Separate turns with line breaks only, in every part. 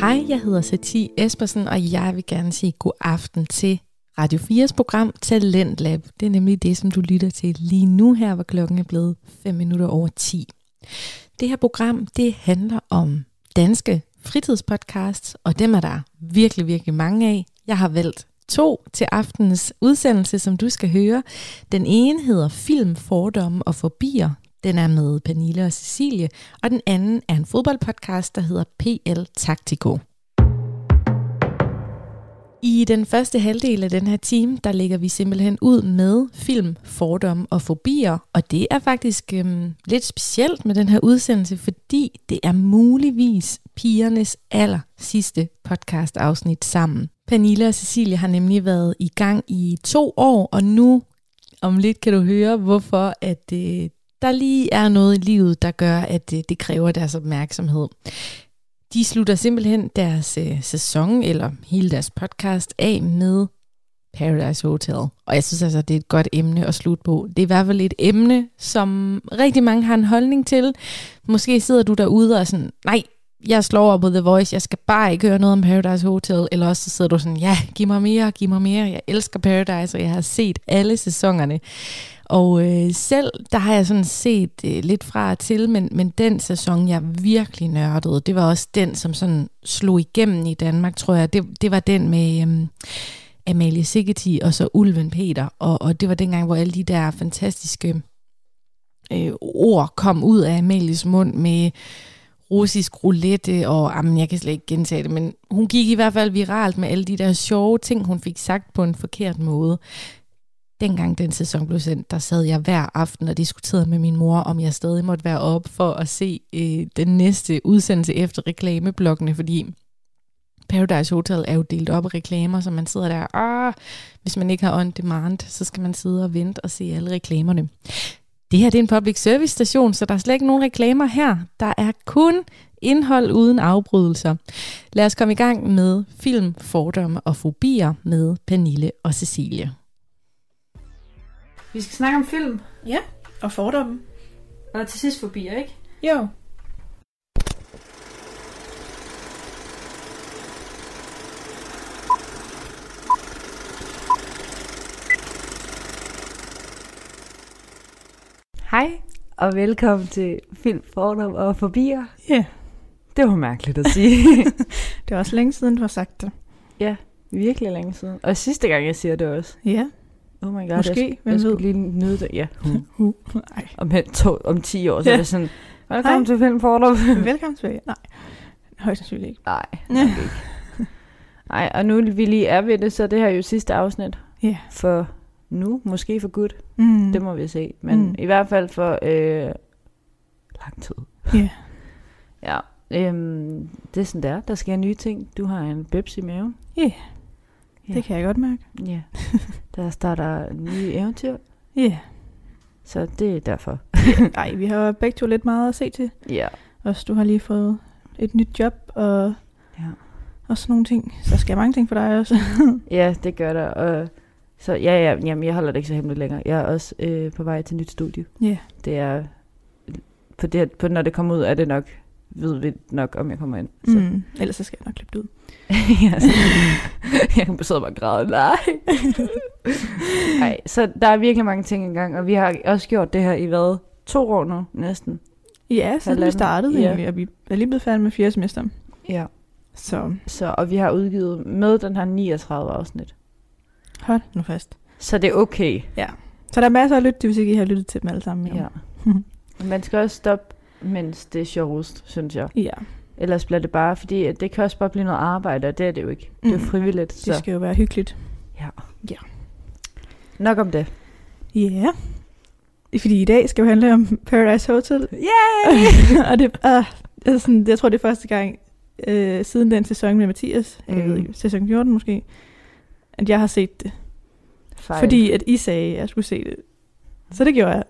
Hej, jeg hedder Sati Espersen, og jeg vil gerne sige god aften til Radio 4's program Talent Lab. Det er nemlig det, som du lytter til lige nu her, hvor klokken er blevet 5 minutter over 10. Det her program, det handler om danske fritidspodcasts, og dem er der virkelig, virkelig mange af. Jeg har valgt to til aftenens udsendelse, som du skal høre. Den ene hedder Film, Fordomme og Forbier. Den er med Pernille og Cecilie, og den anden er en fodboldpodcast, der hedder PL Taktiko. I den første halvdel af den her time, der lægger vi simpelthen ud med film, fordomme og fobier. Og det er faktisk øhm, lidt specielt med den her udsendelse, fordi det er muligvis pigernes aller sidste podcast afsnit sammen. Pernille og Cecilie har nemlig været i gang i to år, og nu om lidt kan du høre, hvorfor at øh, der lige er noget i livet, der gør, at øh, det kræver deres opmærksomhed. De slutter simpelthen deres øh, sæson, eller hele deres podcast, af med Paradise Hotel. Og jeg synes altså, det er et godt emne at slutte på. Det er i hvert fald et emne, som rigtig mange har en holdning til. Måske sidder du derude og er sådan, nej, jeg slår op på The Voice, jeg skal bare ikke høre noget om Paradise Hotel, eller også så sidder du sådan, ja, giv mig mere, giv mig mere, jeg elsker Paradise, og jeg har set alle sæsonerne. Og øh, selv, der har jeg sådan set øh, lidt fra og til, men, men den sæson, jeg virkelig nørdede, det var også den, som sådan slog igennem i Danmark, tror jeg. Det, det var den med øh, Amalie Sigeti og så Ulven Peter, og, og det var dengang, hvor alle de der fantastiske øh, ord kom ud af Amalies mund med russisk roulette, og jamen, jeg kan slet ikke gentage det, men hun gik i hvert fald viralt med alle de der sjove ting, hun fik sagt på en forkert måde. Dengang den sæson blev sendt, der sad jeg hver aften og diskuterede med min mor, om jeg stadig måtte være op for at se øh, den næste udsendelse efter reklameblokkene, fordi Paradise Hotel er jo delt op i reklamer, så man sidder der, og hvis man ikke har on demand, så skal man sidde og vente og se alle reklamerne. Det her det er en public service station, så der er slet ikke nogen reklamer her. Der er kun indhold uden afbrydelser. Lad os komme i gang med film, fordomme og fobier med Pernille og Cecilie.
Vi skal snakke om film,
Ja, og fordomme.
og til sidst fobier, ikke?
Jo.
Hej, og velkommen til Film, Fordom og Forbier.
Ja,
Det var mærkeligt at sige.
det er også længe siden, du har sagt det.
Virkelig længe siden. Og sidste gang, jeg siger det også.
Ja,
Oh my god,
Måske,
jeg,
hvem
jeg skulle
ved?
lige nyde det. Ja, hmm.
uh, nej.
om, hen- to, om 10 år, så
Ja.
er det sådan, velkommen
Hej.
til Film, Fordom.
Velkommen tilbage. Nej, højst sandsynligt ikke.
Nej,
Ja.
nok ikke. Nej, og nu vi lige er ved det, så er det her jo sidste afsnit.
Ja.
For nu, måske for godt, mm.
Mm.
det må vi se. Men
Mm.
mm. i hvert fald for øh, lang tid.
Ja.
Ja, øhm, det er sådan der. Der sker nye ting. Du har en bebs i maven.
det kan jeg godt mærke.
Ja, der starter nye eventyr,
Ja,
så det er derfor.
nej, vi har jo begge to lidt meget at se til.
Ja.
Også du har lige fået et nyt job og,
Ja,
og sådan nogle ting. Så der sker mange ting for dig også.
ja det gør der. Og så ja, ja, jamen, jeg holder det ikke så hemmeligt længere. Jeg er også øh, på vej til nyt studie.
Ja.
Det er, på det, her- på, når det kommer ud, er det nok, ved vi nok, om jeg kommer ind. Så.
Mm. Ellers så skal jeg nok klippe det ud.
ja, så, jeg kan sidde og bare græde. Nej. Nej, så der er virkelig mange ting i gang, og vi har også gjort det her i hvad? To år nu, næsten.
Ja, siden vi
Halvanden.
startede
Ja.
egentlig, og vi er lige blevet færdige med fjerde semester.
Ja.
Så
Så, og vi har udgivet med den her 39 afsnit.
hold nu fast.
Så det er okay.
Så der er masser at lytte til, hvis ikke I har lyttet til dem alle sammen. jo.
Ja. Man skal også stoppe, mens det er sjovest, synes jeg.
ja.
Ellers bliver det bare, fordi at det kan også bare blive noget arbejde, og det er det jo ikke. Det er
Mm.
jo frivilligt,
Det
så
skal jo være hyggeligt.
nok om det.
Ja. Fordi i dag skal jo handle om Paradise Hotel.
Yay!
og det, ah, det er sådan, jeg tror, det er første gang øh, siden den sæson med Mathias, mm. jeg ved
Mm.
ikke, sæson 14 måske, at jeg har set det. Ej.
Fejl.
Fordi at I sagde, at jeg skulle se det. Så det gjorde jeg.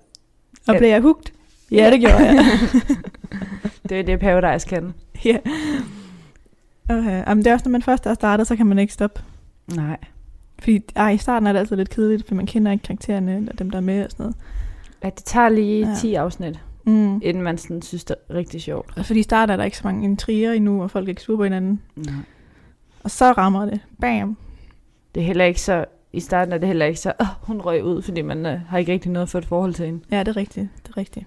Og
Ja.
blev jeg hugt? Ja, det gjorde jeg.
det er det, Paradise kan.
ja. Okay. Jamen, det er også, når man først er startet, så kan man ikke stoppe.
Nej.
Fordi ej, i starten er det altid lidt kedeligt, for man kender ikke karaktererne eller dem, der er med og sådan noget.
At det tager lige
Ja.
10 afsnit.
Mm.
inden man sådan synes, det er rigtig sjovt.
Også fordi i starten er der ikke så mange intriger endnu, og folk er ikke sure på hinanden.
Nej.
Og så rammer det. Bam.
Det er heller ikke så, i starten er det heller ikke så, oh, hun røg ud, fordi man øh, har ikke rigtig noget for et forhold til hende.
Ja, det er rigtigt. Det er rigtigt.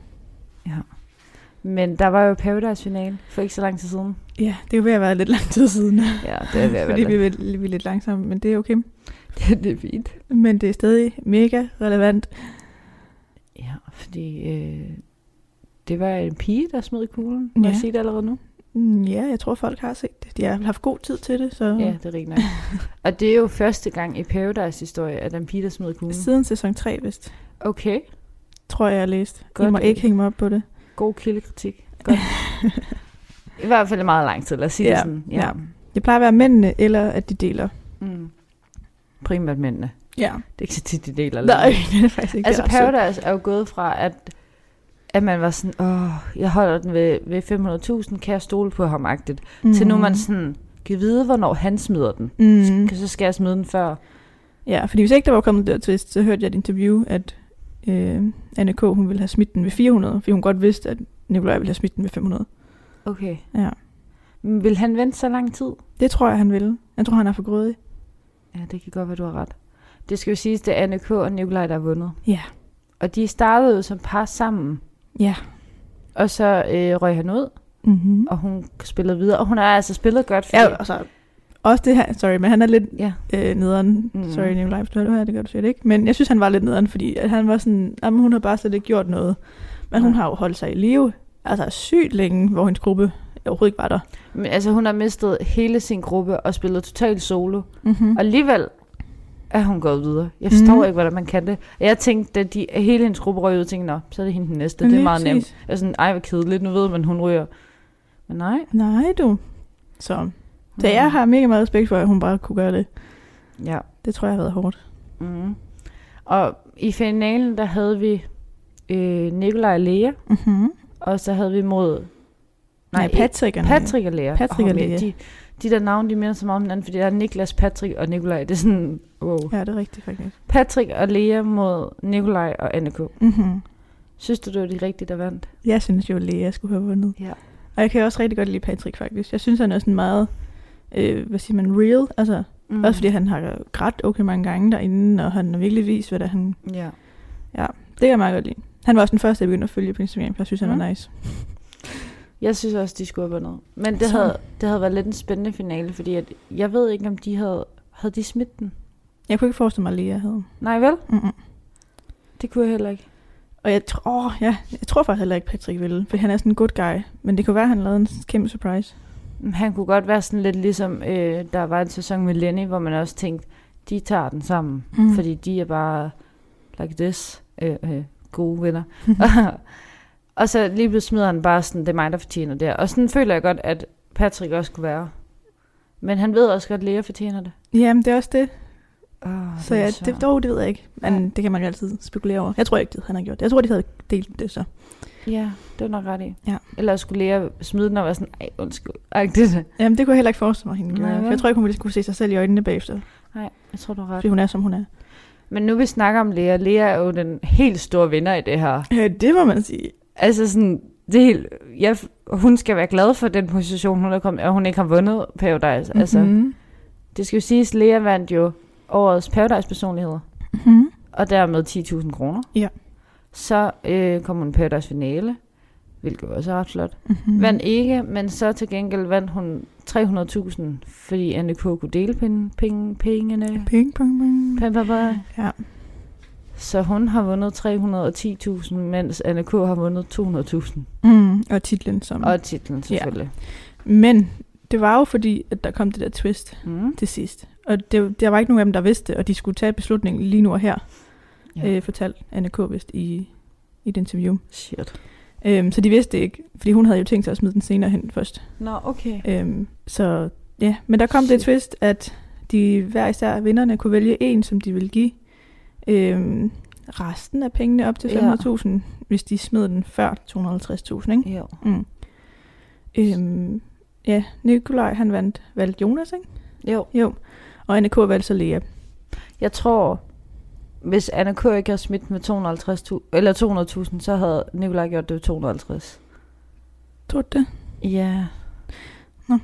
Men der var jo Paradise-finale for ikke så lang tid siden.
Ja, det er jo ved at være lidt lang tid siden,
Ja, det er ved at
fordi
være
vi
langt.
er, lidt- vi er lidt langsomme, men det er okay.
Det, det er fint.
Men det er stadig mega relevant.
Ja, fordi øh, det var en pige, der smed kuglen. Må
Ja.
jeg sige det allerede nu?
Mm, Ja, jeg tror, folk har set det. De har haft god tid til det, så
Ja, det er rigtig nok. Og det er jo første gang i Paradise-historie, at der er en pige, der smed kuglen.
siden sæson 3, vist,
Okay,
tror jeg, jeg har læst. Godt.
Godt.
I må ikke hænge mig op på det.
god kildekritik. Godt. I hvert fald meget lang tid, lad os sige
Ja,
det sådan.
ja. Det plejer at være mændene, eller at de deler.
Mm. Primært mændene.
Ja.
Det er ikke så tit, de deler.
Nej, det er faktisk ikke
Altså
det er ret
Paradise er jo gået fra, at, at man var sådan, åh, jeg holder den ved, ved 500.000, kan jeg stole på ham agtigt. Mm.
sødt.
Til nu er man
Mhm.
sådan, kan vide, hvornår han smider den.
Mm.
Så skal jeg smide den før.
Ja, fordi hvis ikke der var kommet der twist, så hørte jeg et interview, at øh, Anne K. hun ville have smidt den ved 400, fordi hun godt vidste, at Nikolaj ville have smidt den ved 500.
Okay.
Ja.
Men vil han vente så lang tid?
Det tror jeg, han ville. Jeg tror, han er for grådig.
Ja, det kan godt være, du har ret. Det skal jo siges, det er Anne K. og Nikolaj, der har vundet.
Ja.
Og de startede jo som par sammen.
Ja.
Og så øh, røg han ud,
Mm-hmm.
og hun spillede videre. Og hun har altså spillet godt. fordi-
Ja, og så også det her, sorry, men han er lidt
ja.
øh, nederen.
Mm.
Mm. Sorry, Nikolaj, hvis du hører det her, det gør du sikkert ikke. Men jeg synes, han var lidt nederen, fordi at han var sådan, jamen hun har bare slet ikke gjort noget. Men hun
Nej.
har jo holdt sig i live, altså sygt længe, hvor hendes gruppe overhovedet ikke var der.
Men, altså, hun har mistet hele sin gruppe og spillet totalt solo.
Mm-hmm.
Og alligevel er hun gået videre. Jeg forstår
Mhm.
ikke, hvordan man kan det. Og jeg tænkte, da de, hele hendes gruppe røg ud, tænkte jeg, "Nå, så er det hende den næste. det er meget nemt. Jeg er sådan, ej, hvor kedeligt, nu ved man, hun ryger. Men nej.
Nej, du. Så Så jeg har mega meget respekt for, at hun bare kunne gøre det.
Ja.
Det tror jeg har været hårdt.
Mm. Og i finalen, der havde vi øh, Nikolaj og Lea,
Mm-hmm.
og så havde vi mod...
Nej, Patrick. er-
Patrick og Lea.
Patrick og
Åh, men
Lea.
De, de der navne, de minder så meget om hinanden, fordi der er Niklas, Patrick og Nikolaj. Det er sådan, wow.
Ja, det er rigtigt faktisk.
Patrick og Lea mod Nikolaj og Anne K.
Mm-hmm.
Synes du, det var de rigtige, der vandt?
Jeg synes jo, at Lea skulle have vundet.
Ja.
Og jeg kan også rigtig godt lide Patrick faktisk. Jeg synes, han er sådan meget, øh, hvad siger man, real. Altså, mm. Også fordi han har grædt okay mange gange derinde, og han har virkelig vist, hvad der han...
Ja.
Det kan jeg meget godt lide. Han var også den første, jeg begyndte at følge på Instagram, for jeg synes, han
Mm.
var nice.
Jeg synes også, de skulle have vundet. Men det
Sådan.
havde, det havde været lidt en spændende finale, fordi at, jeg ved ikke, om de havde, havde de smidt den.
Jeg kunne ikke forestille mig, at Lea havde.
Nej vel?
Mm-mm.
Det kunne jeg heller ikke.
Og jeg, tr- åh, ja, jeg tror faktisk heller ikke, Patrick ville, for han er sådan en good guy. Men det kunne være, at han lavede en kæmpe surprise.
Men Han kunne godt være sådan lidt ligesom, øh, der var en sæson med Lenny, hvor man også tænkte, de tager den sammen, mm.
Mm.
fordi de er bare like this, øh, øh, gode venner. og så lige pludselig smider han bare sådan, det er mig, der fortjener det her. Og sådan føler jeg godt, at Patrick også kunne være. Men han ved også godt, at Lea fortjener det.
Jamen, det er også det.
Oh,
Så ja, det, dog, det ved jeg ikke. Men
Nej.
det kan man jo altid spekulere over. Jeg tror ikke, det han har gjort det. Jeg tror, de havde delt det så.
Ja, det var nok ret i.
Ja.
Ellers skulle Lea smide den og være sådan, ej, undskyld. Ej, det,
Jamen, det kunne jeg heller ikke forestille mig, hende.
Nej,
Nej,
vel?
jeg tror ikke, hun ville kunne se sig selv i øjnene bagefter,
nej, jeg tror, du har ret.
fordi hun er, som hun er.
Men nu vi snakker om Lea, Lea er jo den helt store vinder i det her.
Ja, Øh, det må man sige.
Altså sådan, det er helt, jeg, hun skal være glad for den position, hun er kommet, at hun ikke har vundet Paradise. Mm-hmm. Altså,
Mm-hmm.
det skal jo siges, Lea vandt jo årets Paradise-personligheder,
Mm-hmm.
og dermed 10.000 kroner.
Ja.
Så øh, kom hun i Paradise-finale, hvilket også er ret flot.
Mm-hmm.
Vandt ikke, men så til gengæld vandt hun 300.000, fordi Anne K. kunne dele penge, penge, pengene.
Ping, pong, pong.
Pam, pam, pam.
Ja.
Så hun har vundet 310.000, mens Anne K. har vundet 200.000.
Mm, og titlen som. Og...
Og titlen selvfølgelig.
Men det var jo fordi, at der kom det der twist
Ja. Mm.
til sidst. Og det, der var ikke nogen af dem, der vidste det, og de skulle tage beslutningen lige nu og her,
Ja.
ja. øh, fortalte Anne K. vist i, i et interview.
Shit.
Øhm, så de vidste det ikke, fordi hun havde jo tænkt sig at smide den senere hen først.
Nå, okay.
Øhm, så ja, men der kom Shit. det
Shit.
twist, at de hver især vinderne kunne vælge en, som de ville give øhm, resten af pengene op til
Ja.
500.000, ja. hvis de smed den før 250.000, ikke?
Jo.
Mm. Øhm, ja, Nikolaj han vandt, valgte Jonas, ikke?
jo.
Jo. Og Anne K. valgte så Lea.
Jeg tror, hvis Anna K. ikke havde smidt med 250.000, eller 200.000, så havde Nikolaj gjort det ved 250.
Tror du det?
Ja.
Nå.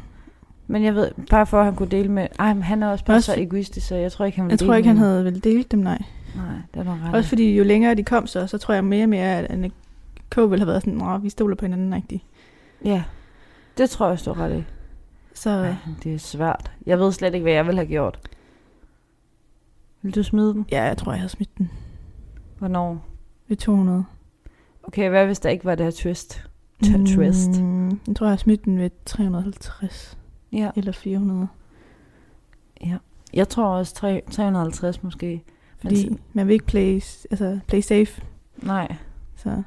Men jeg ved, bare for at han kunne dele med... Ej, men han er også bare
Også
også så
for-
egoistisk, så jeg tror ikke, han ville
Jeg tror
dele
ikke, han
med-
havde vel delt dem, nej.
Nej, det var ret.
Også
Også
fordi jo længere de kom så, så tror jeg mere og mere, at Anne K. ville have været sådan, Nå, vi stoler på hinanden, rigtig.
Ja, det tror jeg også, du har ret i.
Så
Ej, det er svært. Jeg ved slet ikke, hvad jeg ville have gjort. Vil du smide den?
ja, jeg tror, jeg havde smidt den
Hvornår?
ved 200.
Okay, hvad hvis der ikke var det her twist? T- twist.
Mm, jeg tror, jeg har smidt den ved 350
Ja.
eller 400.
Jeg tror også tre- 350 måske.
Fordi
Altså-
man vil ikke play, altså, play safe.
Nej.
Så.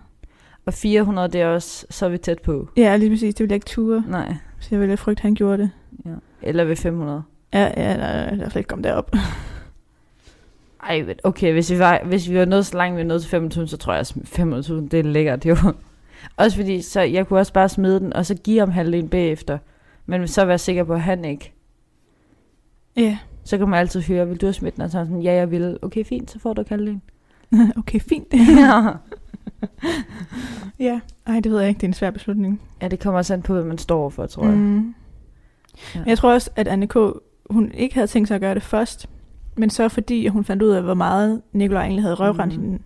Og 400, det er også, så er vi tæt på.
Ja, lige præcis. Det ville jeg ikke ture.
Nej.
Så jeg ville frygte, at han gjorde det.
Ja. Eller ved 500.
Ja, ja, nej, jeg er slet ikke kommet derop.
Ej, men okay, hvis vi, var, hvis vi var nået så langt, vi var nået til 5.000, så tror jeg, at 5.000, det er lækkert jo. Også fordi, så jeg kunne også bare smide den, og så give ham halvdelen bagefter. Men så være sikker på, at han ikke.
Ja,
Så kan man altid høre, vil du have smidt den? Og så er han sådan, ja, jeg vil. Okay, fint, så får du ikke halvdelen.
okay, fint.
ja.
ja, ej, det ved jeg ikke. Det er en svær beslutning.
ja, det kommer også an på, hvad man står overfor, tror jeg. Mm.
Mm.
Ja.
Men jeg tror også, at Anne K., hun ikke havde tænkt sig at gøre det først, men så fordi hun fandt ud af, hvor meget Nikolaj egentlig havde røvrendt
Mhm.
mm. hende,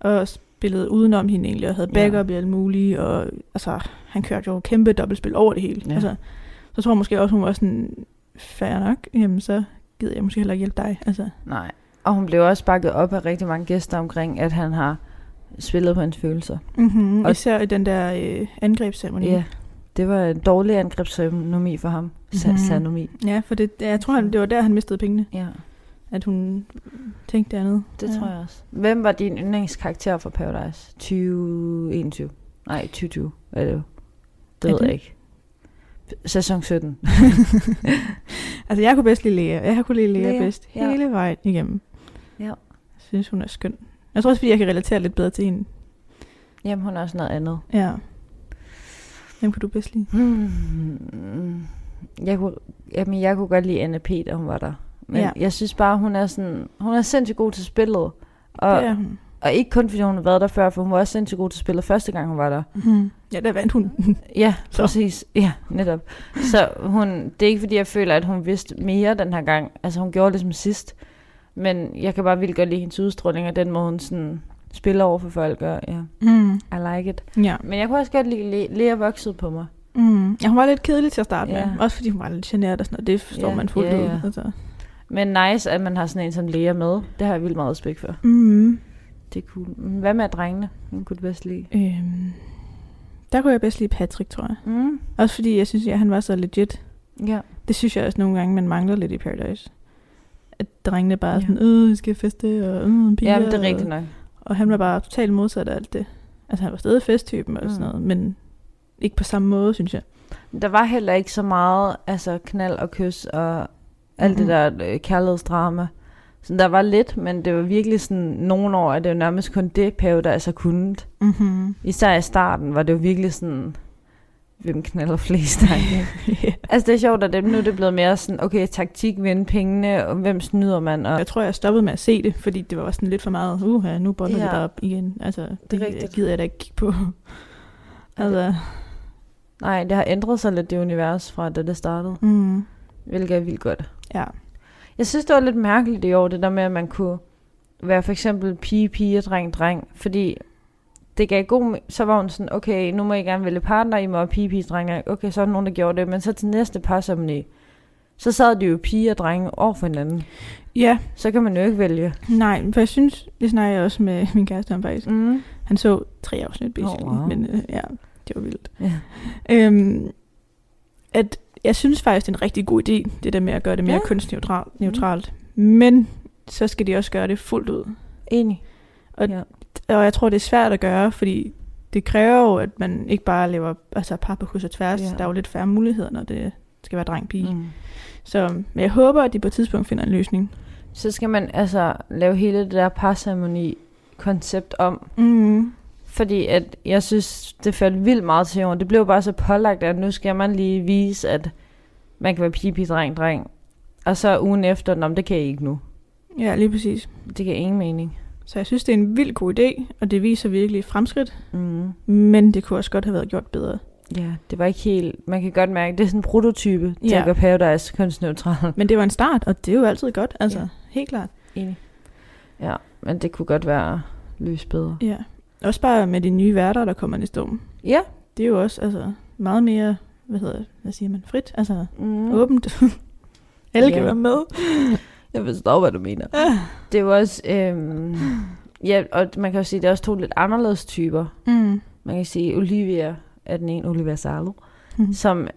og spillet udenom hende egentlig, og havde
Ja.
backup i alt muligt, og altså, han kørte jo kæmpe dobbeltspil over det hele.
Ja.
Ja. Altså, så tror jeg måske også, hun var sådan, fair nok, jamen så gider jeg måske heller ikke hjælpe dig. Altså,
Nej. Og hun blev også bakket op af rigtig mange gæster omkring, at han har spillet på hans følelser.
mm-hmm.
Mhm. Og-
og... Især i den der øh, angrebsceremoni.
Ja, det var en dårlig angrebsøkonomi for ham. Sa-
Mhm.
Sanomi.
ja, for det, jeg tror,
Mm.
han, det var der, han mistede pengene,
Ja.
at hun tænkte det andet.
Det
ja.
tror jeg også. Hvem var din yndlingskarakter fra Paradise? 2021? Nej, 2020 er det jo. Det
Er
ved
det?
jeg ikke. Sæson 17.
Altså, jeg kunne bedst lide Lea. Jeg har kunne lide Lea,
Lea,
Lea. bedst
ja.
ja. hele vejen igennem.
Ja.
Jeg synes, hun er skøn. Jeg tror også, fordi jeg kan relatere lidt bedre til hende.
Jamen, hun er også noget andet.
Ja. Hvem kunne du bedst lide?
Hmm. Jeg kunne, jamen, jeg kunne godt lide Anna P, da hun var der. Men ja.
Ja.
jeg synes bare, hun er sådan... Hun er sindssygt god til spillet. Og,
Det er hun.
og ikke kun fordi hun har været der før, for hun var også sindssygt god til spillet første gang, hun var der.
Mm. Ja, der vandt hun.
Ja, så.
Så.
præcis. Ja, netop. Så hun, det er ikke fordi, jeg føler, at hun vidste mere den her gang. Altså, hun gjorde det som sidst. Men jeg kan bare vildt godt lide hendes udstråling, og den måde, hun sådan spiller over for folk. Og, ja,
Mm.
I like it.
Ja.
Men jeg kunne også godt lide, at Lea voksede på mig.
Mm. ja. hun var lidt kedelig til at starte
Ja.
yeah. med. Også fordi hun var lidt generet og sådan noget. Det forstår
Ja,
yeah. man fuldt
ja,
yeah,
ja.
ud. Altså.
Men nice, at man har sådan en som Lea med. Det har jeg vildt meget respekt for.
Mm.
Det er cool. Men Hvad med drengene? Hun kunne du bedst lide.
Øhm. Der kunne jeg bedst lide Patrick, tror jeg.
Mm.
Også fordi jeg synes, at han var så legit.
Ja.
Det synes jeg også nogle gange, man mangler lidt i Paradise. At drengene bare er
Ja.
sådan, øh, skal jeg feste, og øh, piger.
ja, men det er
og-
rigtigt nok.
Og han var bare totalt modsat af alt det. Altså han var stadig festtypen og sådan
Mm.
noget, men ikke på samme måde, synes jeg.
Der var heller ikke så meget altså knald og kys og alt mm-hmm.
Mhm.
det der øh, kærlighedsdrama. Så der var lidt, men det var virkelig sådan nogle år, at det var nærmest kun det, Pave, der altså kunne.
Mm-hmm.
Især i starten var det jo virkelig sådan, hvem knaller flest egentlig? Altså det er sjovt, at det, nu er det blevet mere sådan, okay, taktik, vinde pengene, og hvem snyder man? Og,
Jeg tror, jeg stoppede med at se det, fordi det var sådan lidt for meget, uha, nu bonder
Ja.
ja. det bare op igen. Altså, det, det
rigtigt.
gider jeg da ikke kigge på. altså,
nej, det har ændret sig lidt det univers fra da det startede,
mm,
hvilket er vildt godt.
ja.
Jeg synes, det var lidt mærkeligt i år, det der med, at man kunne være for eksempel pige, pige, dreng, dreng. Fordi det gav god... me- Så var hun sådan, okay, nu må I gerne vælge partner, I må være pige, pige, dreng, dreng. Okay, så er der nogen, der gjorde det. Men så til næste par, som I, så sad de jo pige og drenge over for hinanden.
Ja,
Så kan man jo ikke vælge.
nej, for jeg synes, det snakker jeg også med min kæreste om faktisk.
Mm.
Han så tre afsnit, basically,
wow.
men øh, ja, det var vildt.
Ja.
Øhm, at jeg synes faktisk, det er en rigtig god idé, det der med at gøre det mere
Ja. Mhm.
ja. kunstneutralt. Neutralt. Men så skal de også gøre det fuldt ud.
Enig.
Og-
ja.
Og jeg tror, det er svært at gøre, fordi det kræver jo, at man ikke bare laver altså, par på kryds og tværs.
Ja.
Ja. Der er jo lidt færre muligheder, når det skal være dreng-pige. Mm.
Mm.
Så men jeg håber, at de på et tidspunkt finder en løsning.
Så skal man altså lave hele det der parceremoni koncept om, Mm-hmm.
Mm.
Fordi at jeg synes, det faldt vildt meget til jorden. Det blev bare så pålagt, at nu skal man lige vise, at man kan være pige, pige, dreng, dreng. Og så ugen efter, om det kan I ikke nu.
Ja, lige præcis.
Det giver ingen mening.
Så jeg synes, det er en vild god idé, og det viser virkelig fremskridt,
Mm.
men det kunne også godt have været gjort bedre.
Ja, det var ikke helt... Man kan godt mærke, det er sådan en prototype til
Ja.
at gøre Paradise kønsneutral.
Men det var en start, og det er jo altid godt, altså
Ja.
ja. helt klart.
Enig. Ja, men det kunne godt være løs bedre.
Ja. Også bare med de nye værter, der kommer næste år.
Ja.
Det er jo også altså, meget mere, hvad hedder hvad siger man, frit, altså
Mm.
mm. åbent. Alle kan
Ja.
være med.
Jeg forstår, hvad du mener. Det er jo også... Øhm, ja, og man kan jo sige, det er også to lidt anderledes typer.
Mm.
Man kan sige, Olivia er den ene, Olivia Salo,
Mm.
som øh,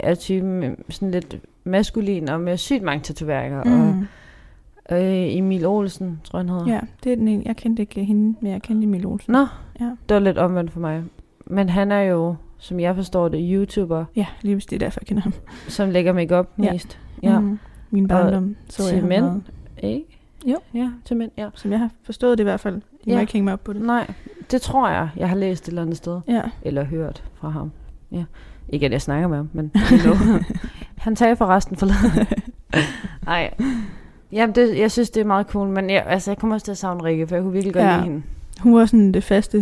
er typen med sådan lidt maskulin og med sygt mange tatoveringer. Mm.
Mm.
Og øh, Emil Olsen, tror jeg, han hedder.
Ja, det er den ene. Jeg kendte ikke hende, men jeg kendte Emil Olsen.
Nå,
Ja.
det var lidt omvendt for mig. Men han er jo, som jeg forstår det, YouTuber,
Ja, lige hvis det er derfor, jeg kender ham.
som lægger makeup
Ja.
mest. Ja.
Mm. Min barndom så
til
jeg ham
mænd.
meget.
Ikke?
Jo.
Ja, til mænd, ja.
Som jeg har forstået det i hvert fald. Jeg
Ja.
ja. Mm. må ikke hænge mig op på det.
Nej, det tror jeg, jeg har læst et eller andet sted.
Ja.
Eller hørt fra ham. Ja. Ikke at jeg snakker med ham, men hello. han tager forresten forleden. Nej. Jamen, det, jeg synes, det er meget cool, men jeg, altså, jeg kommer også til at savne Rikke, for jeg kunne virkelig godt
Ja.
lide hende.
Hun var sådan det faste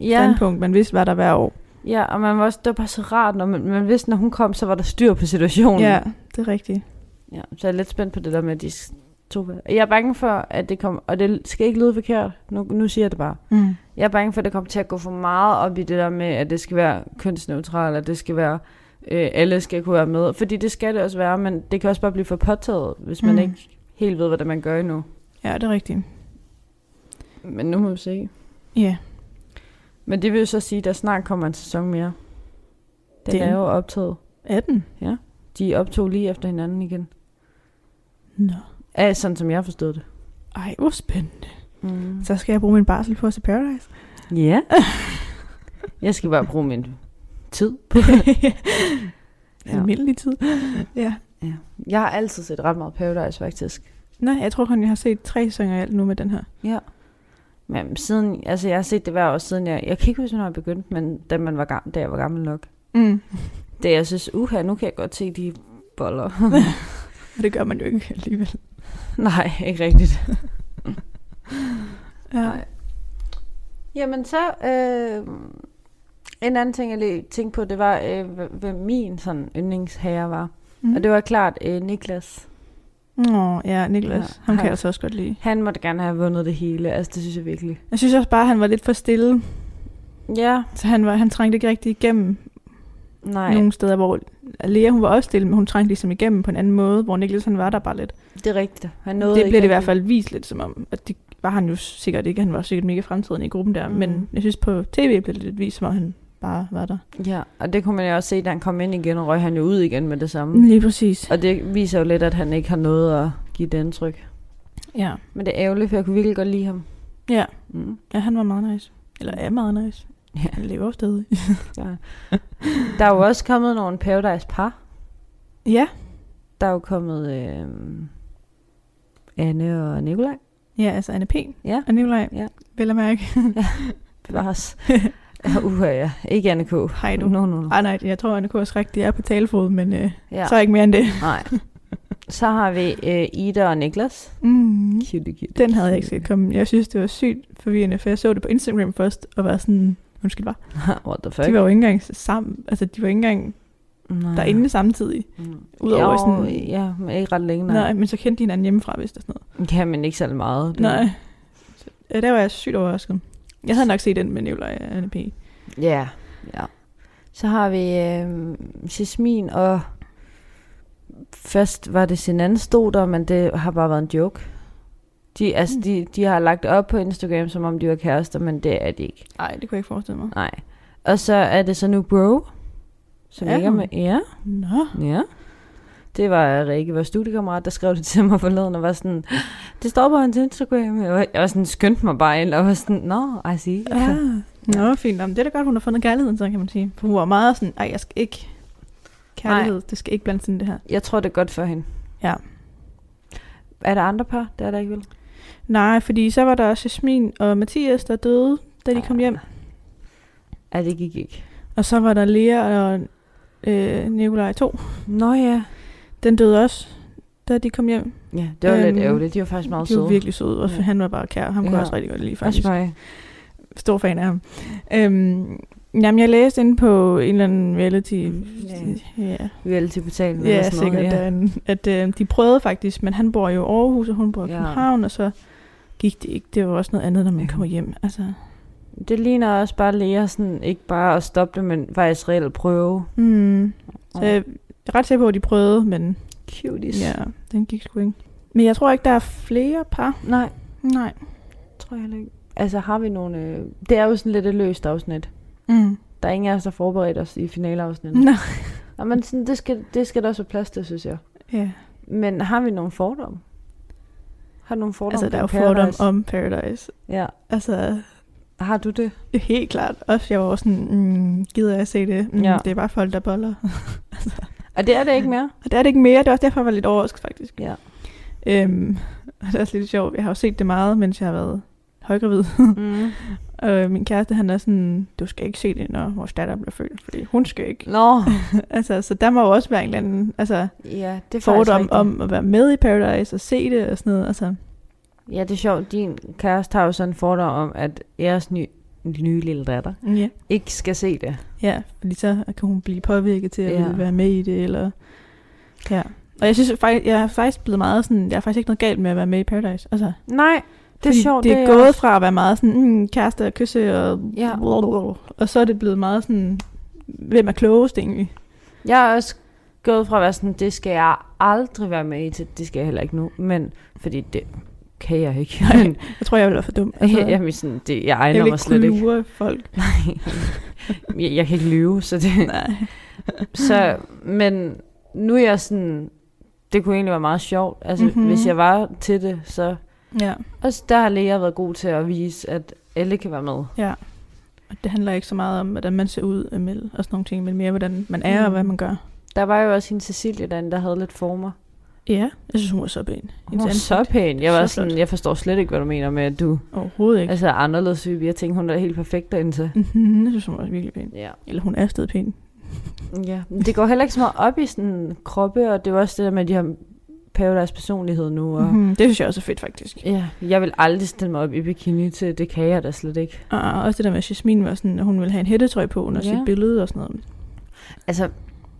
ja.
Ja,
standpunkt, man vidste, var der hver år.
ja, og man var også, det var bare så rart, når man, man vidste, når hun kom, så var der styr på situationen.
Ja, det er rigtigt.
ja. Så jeg er lidt spændt på det der med, at de s- to... Jeg er bange for, at det kommer... Og det skal ikke lyde forkert, nu, nu siger jeg det bare.
Mm.
Jeg er bange for, at det kommer til at gå for meget op i det der med, at det skal være kønsneutralt, og det skal være, øh, alle skal kunne være med. Fordi det skal det også være, men det kan også bare blive for påtaget, hvis man
Mm.
ikke helt ved, hvad det er, man gør endnu.
Ja, det er rigtigt.
Men nu må vi se.
Ja,
Men det vil jo så sige, at der snart kommer en sæson mere. Den
Det
det
er
er
den.
jo optaget.
18.
De optog lige efter hinanden igen.
Nå.
Ja, sådan som jeg forstod det.
Ej, hvor spændende.
Mm.
Så skal jeg bruge min barsel på at se Paradise.
Ja. jeg skal bare bruge min tid på Ja.
Almindelig tid. ja.
Jeg har altid set ret meget Paradise, faktisk.
Nej, jeg tror kun, jeg har set tre sæsoner alt nu med den her.
Men siden, altså jeg har set det hver år siden jeg, jeg kan ikke huske, hvornår jeg begyndte, men da, man var gammel, da jeg var gammel nok.
Mm.
Det jeg synes, uha, nu kan jeg godt se de boller.
Og det gør man jo ikke alligevel.
Nej, ikke rigtigt.
Ja.
Nej. Jamen så, øh, en anden ting, jeg lige tænkte på, det var, øh, hv- hvem min sådan yndlingsherre var.
Mm.
Og det var klart øh, Niklas.
Nå, ja, Niklas.
Ja,
Ja, ham kan
hej.
jeg altså også godt lide.
Han måtte gerne have vundet det hele, altså det synes jeg virkelig.
Jeg synes også bare, at han var lidt for stille.
Ja,
Så han, var, han trængte ikke rigtig igennem
nej,
Ej. nogle steder, hvor Lea hun var også stille, men hun trængte ligesom igennem på en anden måde, hvor Niklas han var der bare lidt.
det er rigtigt. Han nåede
Noget det
ikke
bliver det i hvert
rigtig.
fald vist lidt som om, at det var han jo sikkert ikke. Han var sikkert mega fremtiden i gruppen der,
Mhm.
mm. men jeg synes på tv blev det lidt vist, som om han bare var der.
Ja, og det kunne man jo også se, da han kom ind igen, og røg han jo ud igen med det samme.
Lige præcis.
Og det viser jo lidt, at han ikke har noget at give det indtryk.
Ja.
Men det er ærgerligt, for jeg kunne virkelig godt lide ham.
ja.
Mm.
Ja, han var meget nice. Eller er meget nice.
Ja.
Han lever stadig.
Ja. Der er jo også kommet nogle Paradise par.
ja.
Der er jo kommet øh, Anne og Nikolaj.
Ja, altså Anne P.
Ja.
Og Nikolaj.
Ja.
Vel at mærke.
Bevares. Uh, ja. Ikke Anne K.
Hej du.
No, no, no.
Ej nej, jeg tror, Anne K. også rigtigt er på talefod, men øh,
Ja.
ja. så ikke mere end det.
Nej. Så har vi øh, Ida og Niklas.
Mm.
Cute, cute.
Den havde jeg ikke set komme. Jeg synes, det var sygt forvirrende, for jeg så det på Instagram først, og var sådan, undskyld var.
What the fuck?
De var jo ikke engang sammen, altså de var ikke engang
Nej.
derinde samtidig.
Mm.
udover
jo,
sådan-
Ja, men ikke ret længe.
Nej.
Nej.
Nej, men så kendte de hinanden hjemmefra, hvis der sådan noget.
nej. Ja, men ikke særlig meget. Det-
Nej. Så, ja, der var jeg sygt overrasket. Jeg havde nok set den øh, med Nicolaj og Anne P.
Ja, ja. Så har vi øh, Jasmin, og først var det sin anden stod der, men det har bare været en joke. De, altså,
Mm.
de, de har lagt op på Instagram, som om de var kærester, men det er de ikke.
Nej, det kunne jeg ikke forestille mig.
Nej. Og så er det så nu Bro, som
Er
ligger
hun?
med... Ja,
Nå.
ja. Det var Rikke, vores studiekammerat, der skrev det til mig forleden, og var sådan, det står på hans Instagram. Jeg var, jeg var sådan, skyndte mig bare ind, og var sådan, nå, I see.
Ja. Nå, fint. Jamen, det er da godt, hun har fundet kærligheden, så kan man sige. For hun var meget sådan, ej, jeg skal ikke... Kærlighed, det skal ikke blande sådan det her.
Jeg tror, det er godt for hende.
Ja.
Er der andre par? Det er der ikke vel?
Nej, fordi så var der også Jasmin og Mathias, der døde, da de
Ah.
kom hjem.
Ja, det gik ikke.
Og så var der Lea og øh, Nikolaj 2.
Nå ja.
Den døde også. da de kom hjem.
Ja, det var øhm,
Øhm,
lidt ærgerligt. De var faktisk meget
De var
søde.
virkelig søde, og
Ja.
han var bare kær. Ham kunne
Ja.
jeg også rigtig godt lide,
Også
faktisk.
mig.
Stor fan af ham. Øhm, jamen, jeg læste inde på en eller anden reality... Ja, ja,
Reality portalen eller
ja
sådan
sikkert.
noget.
Ja. At øh, de prøvede faktisk, men han bor jo i Aarhus, og hun bor i
Ja.
København, og så gik det ikke. Det var også noget andet, når man
Ja.
kommer hjem. Altså,
Det ligner også bare læger sådan, ikke bare at stoppe det, men faktisk reelt prøve.
mm, så jeg jeg er ret sikker på, at de prøvede, men
Cuties.
ja, den gik sgu ikke. Men jeg tror ikke, der er flere par.
Nej,
Nej.
tror jeg heller ikke. Altså har vi nogle... Øh... Det er jo sådan lidt et løst afsnit.
Mm.
Der er ingen af os, der forberedt os i finaleafsnittet.
Nå.
Nå, men sådan, det, skal, det skal der også være plads til, synes jeg.
Ja.
Men har vi nogle fordomme? Har du nogle fordomme?
Altså, der er jo
om
fordom
Paradise?
om Paradise.
Ja.
Altså,
Har du det?
Helt klart. Også jeg var også sådan, mm, gider jeg se det? Mm,
Ja.
ja. Det er bare folk, der boller.
Og det er det ikke mere.
Og der er det ikke mere. Det er også derfor, jeg var lidt overrasket, faktisk.
Ja.
Øhm, og det er også lidt sjovt. Jeg har jo set det meget, mens jeg har været højgravid.
Mm.
og øh, min kæreste, han er sådan, du skal ikke se det, når vores datter bliver født. Fordi hun skal ikke.
Nå,
altså, så der må jo også være en eller anden altså,
ja, Mm. det er faktisk
fordom
rigtigt.
om at være med i Paradise og se det og sådan noget. Altså,
Ja, det er sjovt. Din kæreste har jo sådan en fordom om, at jeres nye, nye lille datter
ja.
ikke skal se det.
Ja, fordi så kan hun blive påvirket til at
Ja.
ja. være med i det, eller... Ja. Og jeg synes faktisk, jeg er faktisk blevet meget sådan, der er faktisk ikke noget galt med at være med i Paradise. Altså,
Nej, det er
fordi
sjovt.
det er
jeg
gået
også-
fra at være meget sådan, mm, kæreste og kysse og...
Ja.
Og så er det blevet meget sådan, hvem er klogest egentlig?
Jeg er også gået fra at være sådan, det skal jeg aldrig være med i, til det skal jeg heller ikke nu. Men fordi det kan jeg ikke. Men,
Jeg tror, jeg ville være for dum.
jamen, sådan, det, Altså- jeg
jeg
egner
vil
mig slet
ikke
ikke.
klure folk.
Jeg, jeg kan ikke lyve, så det...
Nej.
Så, men nu er jeg sådan, det kunne egentlig være meget sjovt. Altså, mm-hmm.
Mhm.
hvis jeg var til det, så...
Ja,
Også der har læger været god til at vise, at alle kan være med.
og det handler ikke så meget om, hvordan man ser ud Emil, og sådan nogle ting, men mere, hvordan man er
Mm.
og hvad man gør.
Der var jo også hende Cecilie derinde, der havde lidt former.
Ja, jeg synes, hun var så pæn.
Hun var
Hendes
så
ansigt.
pæn. Jeg
Så
var
flot.
sådan, jeg forstår slet ikke, hvad du mener med, at du
Overhovedet ikke.
altså, er anderledes type. Jeg tænkte, hun er helt perfekt derinde til.
Mhm, jeg synes, hun var virkelig pæn.
Ja.
Eller hun er stadig pæn.
ja. Men Det går heller ikke så meget op i sådan kroppe, og det var også det der med, at de har pævet deres personlighed nu. Og... Mm-hmm.
Mm-hmm. Det synes jeg også er fedt, faktisk.
Ja, jeg vil aldrig stille mig op i bikini til, det kan jeg da slet ikke.
Og også det der med, at Jasmine var sådan, at hun ville have en hættetrøje på under
Ja.
ja. sit billede og sådan noget.
Altså,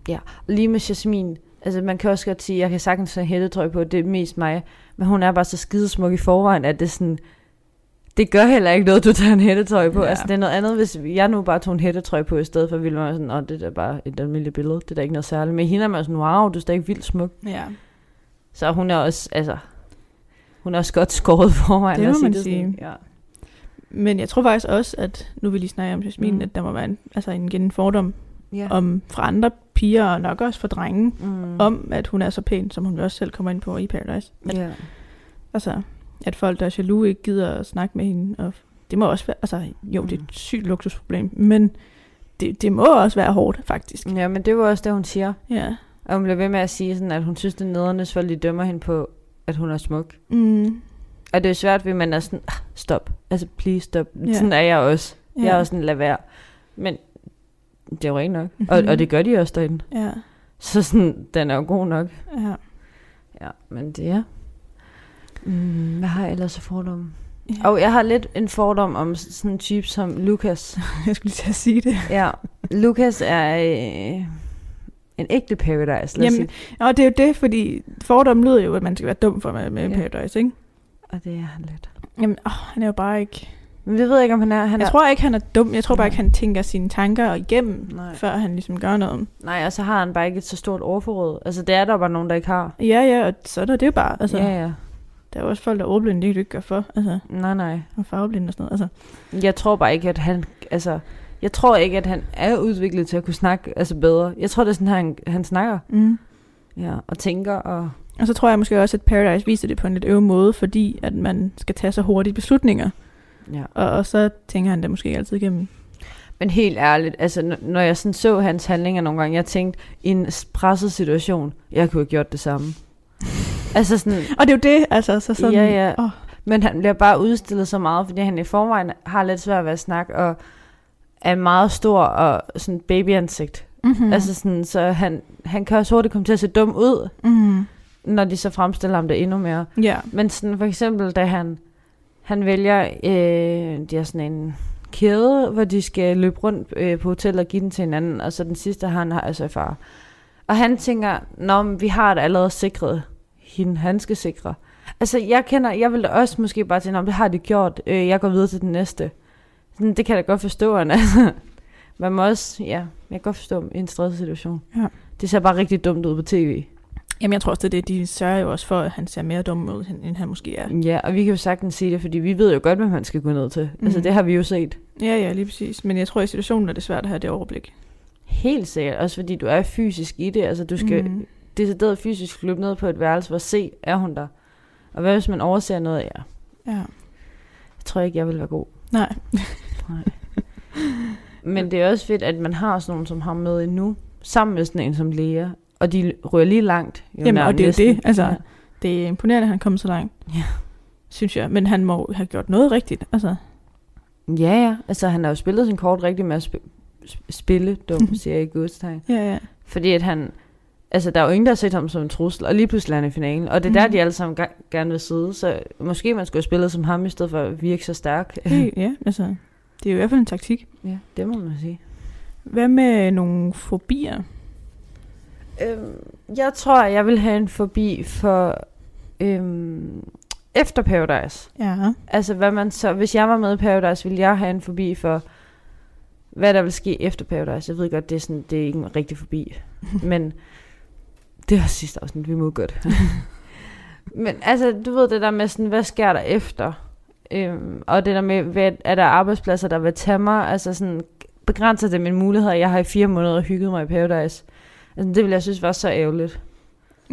ja, lige med Jasmin, altså man kan også godt sige, jeg kan sagtens have hættetrøj på, det er mest mig, men hun er bare så skidesmuk i forvejen, at det er sådan, det gør heller ikke noget, du tager en hættetrøj på. Ja.
Ja.
Altså det er noget andet, hvis jeg nu bare tog en hættetrøj på, i stedet for ville man være sådan, åh, det er da bare et almindeligt billede, det er da ikke noget særligt. Men hende er man sådan, wow, du er stadig vildt smuk.
Ja,
Så hun er også, altså, hun er også godt skåret for mig.
Det må man sige.
ja.
Men jeg tror faktisk også, at nu vil lige snakke om Jasmine,
Mm.
mm. at der må være en, altså en, igen en fordom
Ja.
ja. om, fra andre piger og nok også fra drenge,
mm.
mm. om at hun er så pæn, som hun jo også selv kommer ind på i Paradise. At,
ja.
Altså, at folk, der er jaloux, ikke gider at snakke med hende. Og det må også være, altså jo, det er
Mm.
et sygt luksusproblem, men det, det må også være hårdt, faktisk.
ja, men det var også det, hun siger.
Ja.
Og hun bliver ved med at sige, sådan, at hun synes, det er nederne, hvis folk de dømmer hende på, at hun er smuk.
Mm.
Og det er jo svært, fordi man er sådan, ah, stop. Altså, please stop.
Ja.
Sådan er jeg også.
Ja.
Jeg er også sådan, lad være. Men det er jo rent nok.
Mhm.
Og, og det gør de også derinde.
Ja.
Så sådan, den er jo god nok.
Ja.
Ja, men det er... Mm, hvad har jeg ellers af fordomme?
Ja.
Og jeg har lidt en fordom om s- sådan en type som Lukas.
Jeg skulle lige til at sige det.
ja, Lukas er øh, en ægte paradise, lad os sige.
Jamen- Og det er jo det, fordi fordommen lyder jo, at man skal være dum for at være med i
Ja.
Paradise, ikke?
Og det er han lidt.
Jamen, åh, han er jo bare ikke...
Men vi ved ikke, om han er... Han
Jeg
er
tror ikke, han er dum. Jeg tror bare
Nej.
ikke, han tænker sine tanker igennem,
Nej.
Nej. før han ligesom gør noget.
Nej, og så har han bare ikke et så stort overforråd. Altså, det er der bare nogen, der ikke har.
Ja, ja, og sådan er det jo bare. Altså,
Altså, ja, ja.
Der er jo også folk, der er ordblinde, det kan du ikke gøre for. Altså,
Nej, nej.
og farveblinde og sådan noget. Altså,
Jeg tror bare ikke, at han... Altså, jeg tror ikke, at han er udviklet til at kunne snakke altså bedre. Jeg tror, det er sådan, han, han snakker
mm.
ja, og tænker. Og...
Og så tror jeg måske også, at Paradise viser det på en lidt øv måde, fordi at man skal tage så hurtige beslutninger.
Ja.
Og, og så tænker han det måske ikke altid igennem.
Men helt ærligt, altså, n- når jeg sådan så hans handlinger nogle gange, jeg tænkte, i en s- presset situation, jeg kunne have gjort det samme. altså sådan,
Og det er jo det, altså. Så sådan,
Ja, ja.
Åh,
Men han bliver bare udstillet så meget, fordi han i forvejen har lidt svært ved at snakke, og er meget stor og sådan babyansigt.
mm-hmm.
Altså Mm. Altså sådan, så han, han kan også hurtigt komme til at se dum ud,
mm.
når de så fremstiller ham det endnu mere.
Ja.
Men sådan for eksempel, da han, han vælger, øh, de har sådan en kæde, hvor de skal løbe rundt øh, på hotellet og give den til hinanden, og så den sidste, han har altså far. Og han tænker, nå, men vi har det allerede sikret, hende, han skal sikre. Altså, jeg kender, jeg ville da også måske bare tænke, om det har de gjort, øh, jeg går videre til den næste. Sådan, det kan jeg da godt forstå, han altså. Man må også, ja, jeg kan godt forstå i en stresset situation.
Ja.
Det ser bare rigtig dumt ud på tv.
Jamen, jeg tror også, det er det, de sørger jo også for, at han ser mere dum ud, end end han måske er.
Ja, og vi kan jo sagtens sige det, fordi vi ved jo godt, hvad man skal gå ned til. Mm. Altså,
Mhm.
det har vi jo set.
Ja, ja, lige præcis. Men jeg tror, i situationen er det svært at have det overblik.
Helt sikkert. Også fordi du er fysisk i det. Altså, du skal mm.
Mhm.
decideret fysisk løbe ned på et værelse for at se, er hun der. Og hvad hvis man overser noget? Ja,
Ja.
jeg tror ikke, jeg vil være god.
Nej.
Nej. Men det er også fedt, at man har sådan nogen som ham med endnu, sammen med sådan en som Lea. Og de rører lige langt. Jo
Jamen, og
nærmest
det er jo
næsten.
det, altså.
Ja.
Det er imponerende, at han kom så langt.
Ja.
Synes jeg. Men han må have gjort noget rigtigt. Altså,
ja, ja. Altså, han har jo spillet sin kort rigtig med at sp- sp- spille, dum,
Mhm.
siger jeg i godstegn.
ja, ja.
Fordi at han... Altså, der er jo ingen, der har set ham som en trussel, og lige pludselig er han i finalen. Og det er der,
Mhm.
de alle sammen ga- gerne vil sidde, så måske man skulle have spillet som ham, i stedet for at virke så stærk.
Helt, ja, altså. Det er jo i hvert fald en taktik.
ja, det må man sige.
Hvad med nogle fobier?
Øhm, jeg tror, jeg vil have en forbi for øhm, efter Paradise.
Ja.
Altså, hvad man så... Hvis jeg var med i Paradise, ville jeg have en forbi for, hvad der vil ske efter Paradise. Jeg ved godt, det er, sådan, det er ikke en rigtig forbi. men det var sidste afsnit, vi må godt. men altså, du ved det der med sådan, hvad sker der efter? Øhm, og det der med, hvad, er der arbejdspladser, der vil tage mig? Altså sådan, begrænser det mine muligheder? Jeg har i fire måneder hygget mig i Paradise. Altså, det ville jeg synes var så ærgerligt.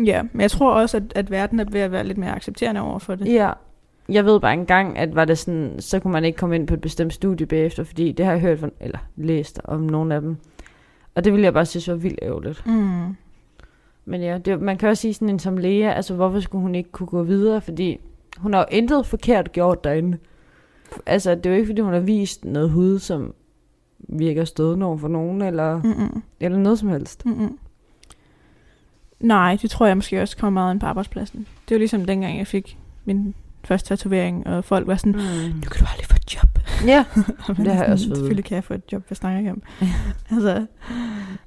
Ja, men jeg tror også, at, at verden er ved at være lidt mere accepterende over for det.
Ja. Jeg ved bare engang, at var det sådan, så kunne man ikke komme ind på et bestemt studie bagefter, fordi det har jeg hørt, von- eller læst om nogle af dem. Og det ville jeg bare synes var vildt ærgerligt.
Mm.
Men ja, det, man kan også sige sådan en som Lea, altså hvorfor skulle hun ikke kunne gå videre, fordi hun har jo intet forkert gjort derinde. Altså, det er jo ikke, fordi hun har vist noget hud, som virker stødende over for nogen, eller, mm.
Mm-mm.
eller noget som helst.
Mm-mm. Nej, det tror jeg måske også kommer meget ind på arbejdspladsen. Det var ligesom dengang, jeg fik min første tatovering, og folk var sådan,
Mm.
nu kan du aldrig få et job.
Ja,
Og man
Det har
er
jeg
sådan,
også fået.
Selvfølgelig kan jeg få et job, hvad snakker jeg om? altså,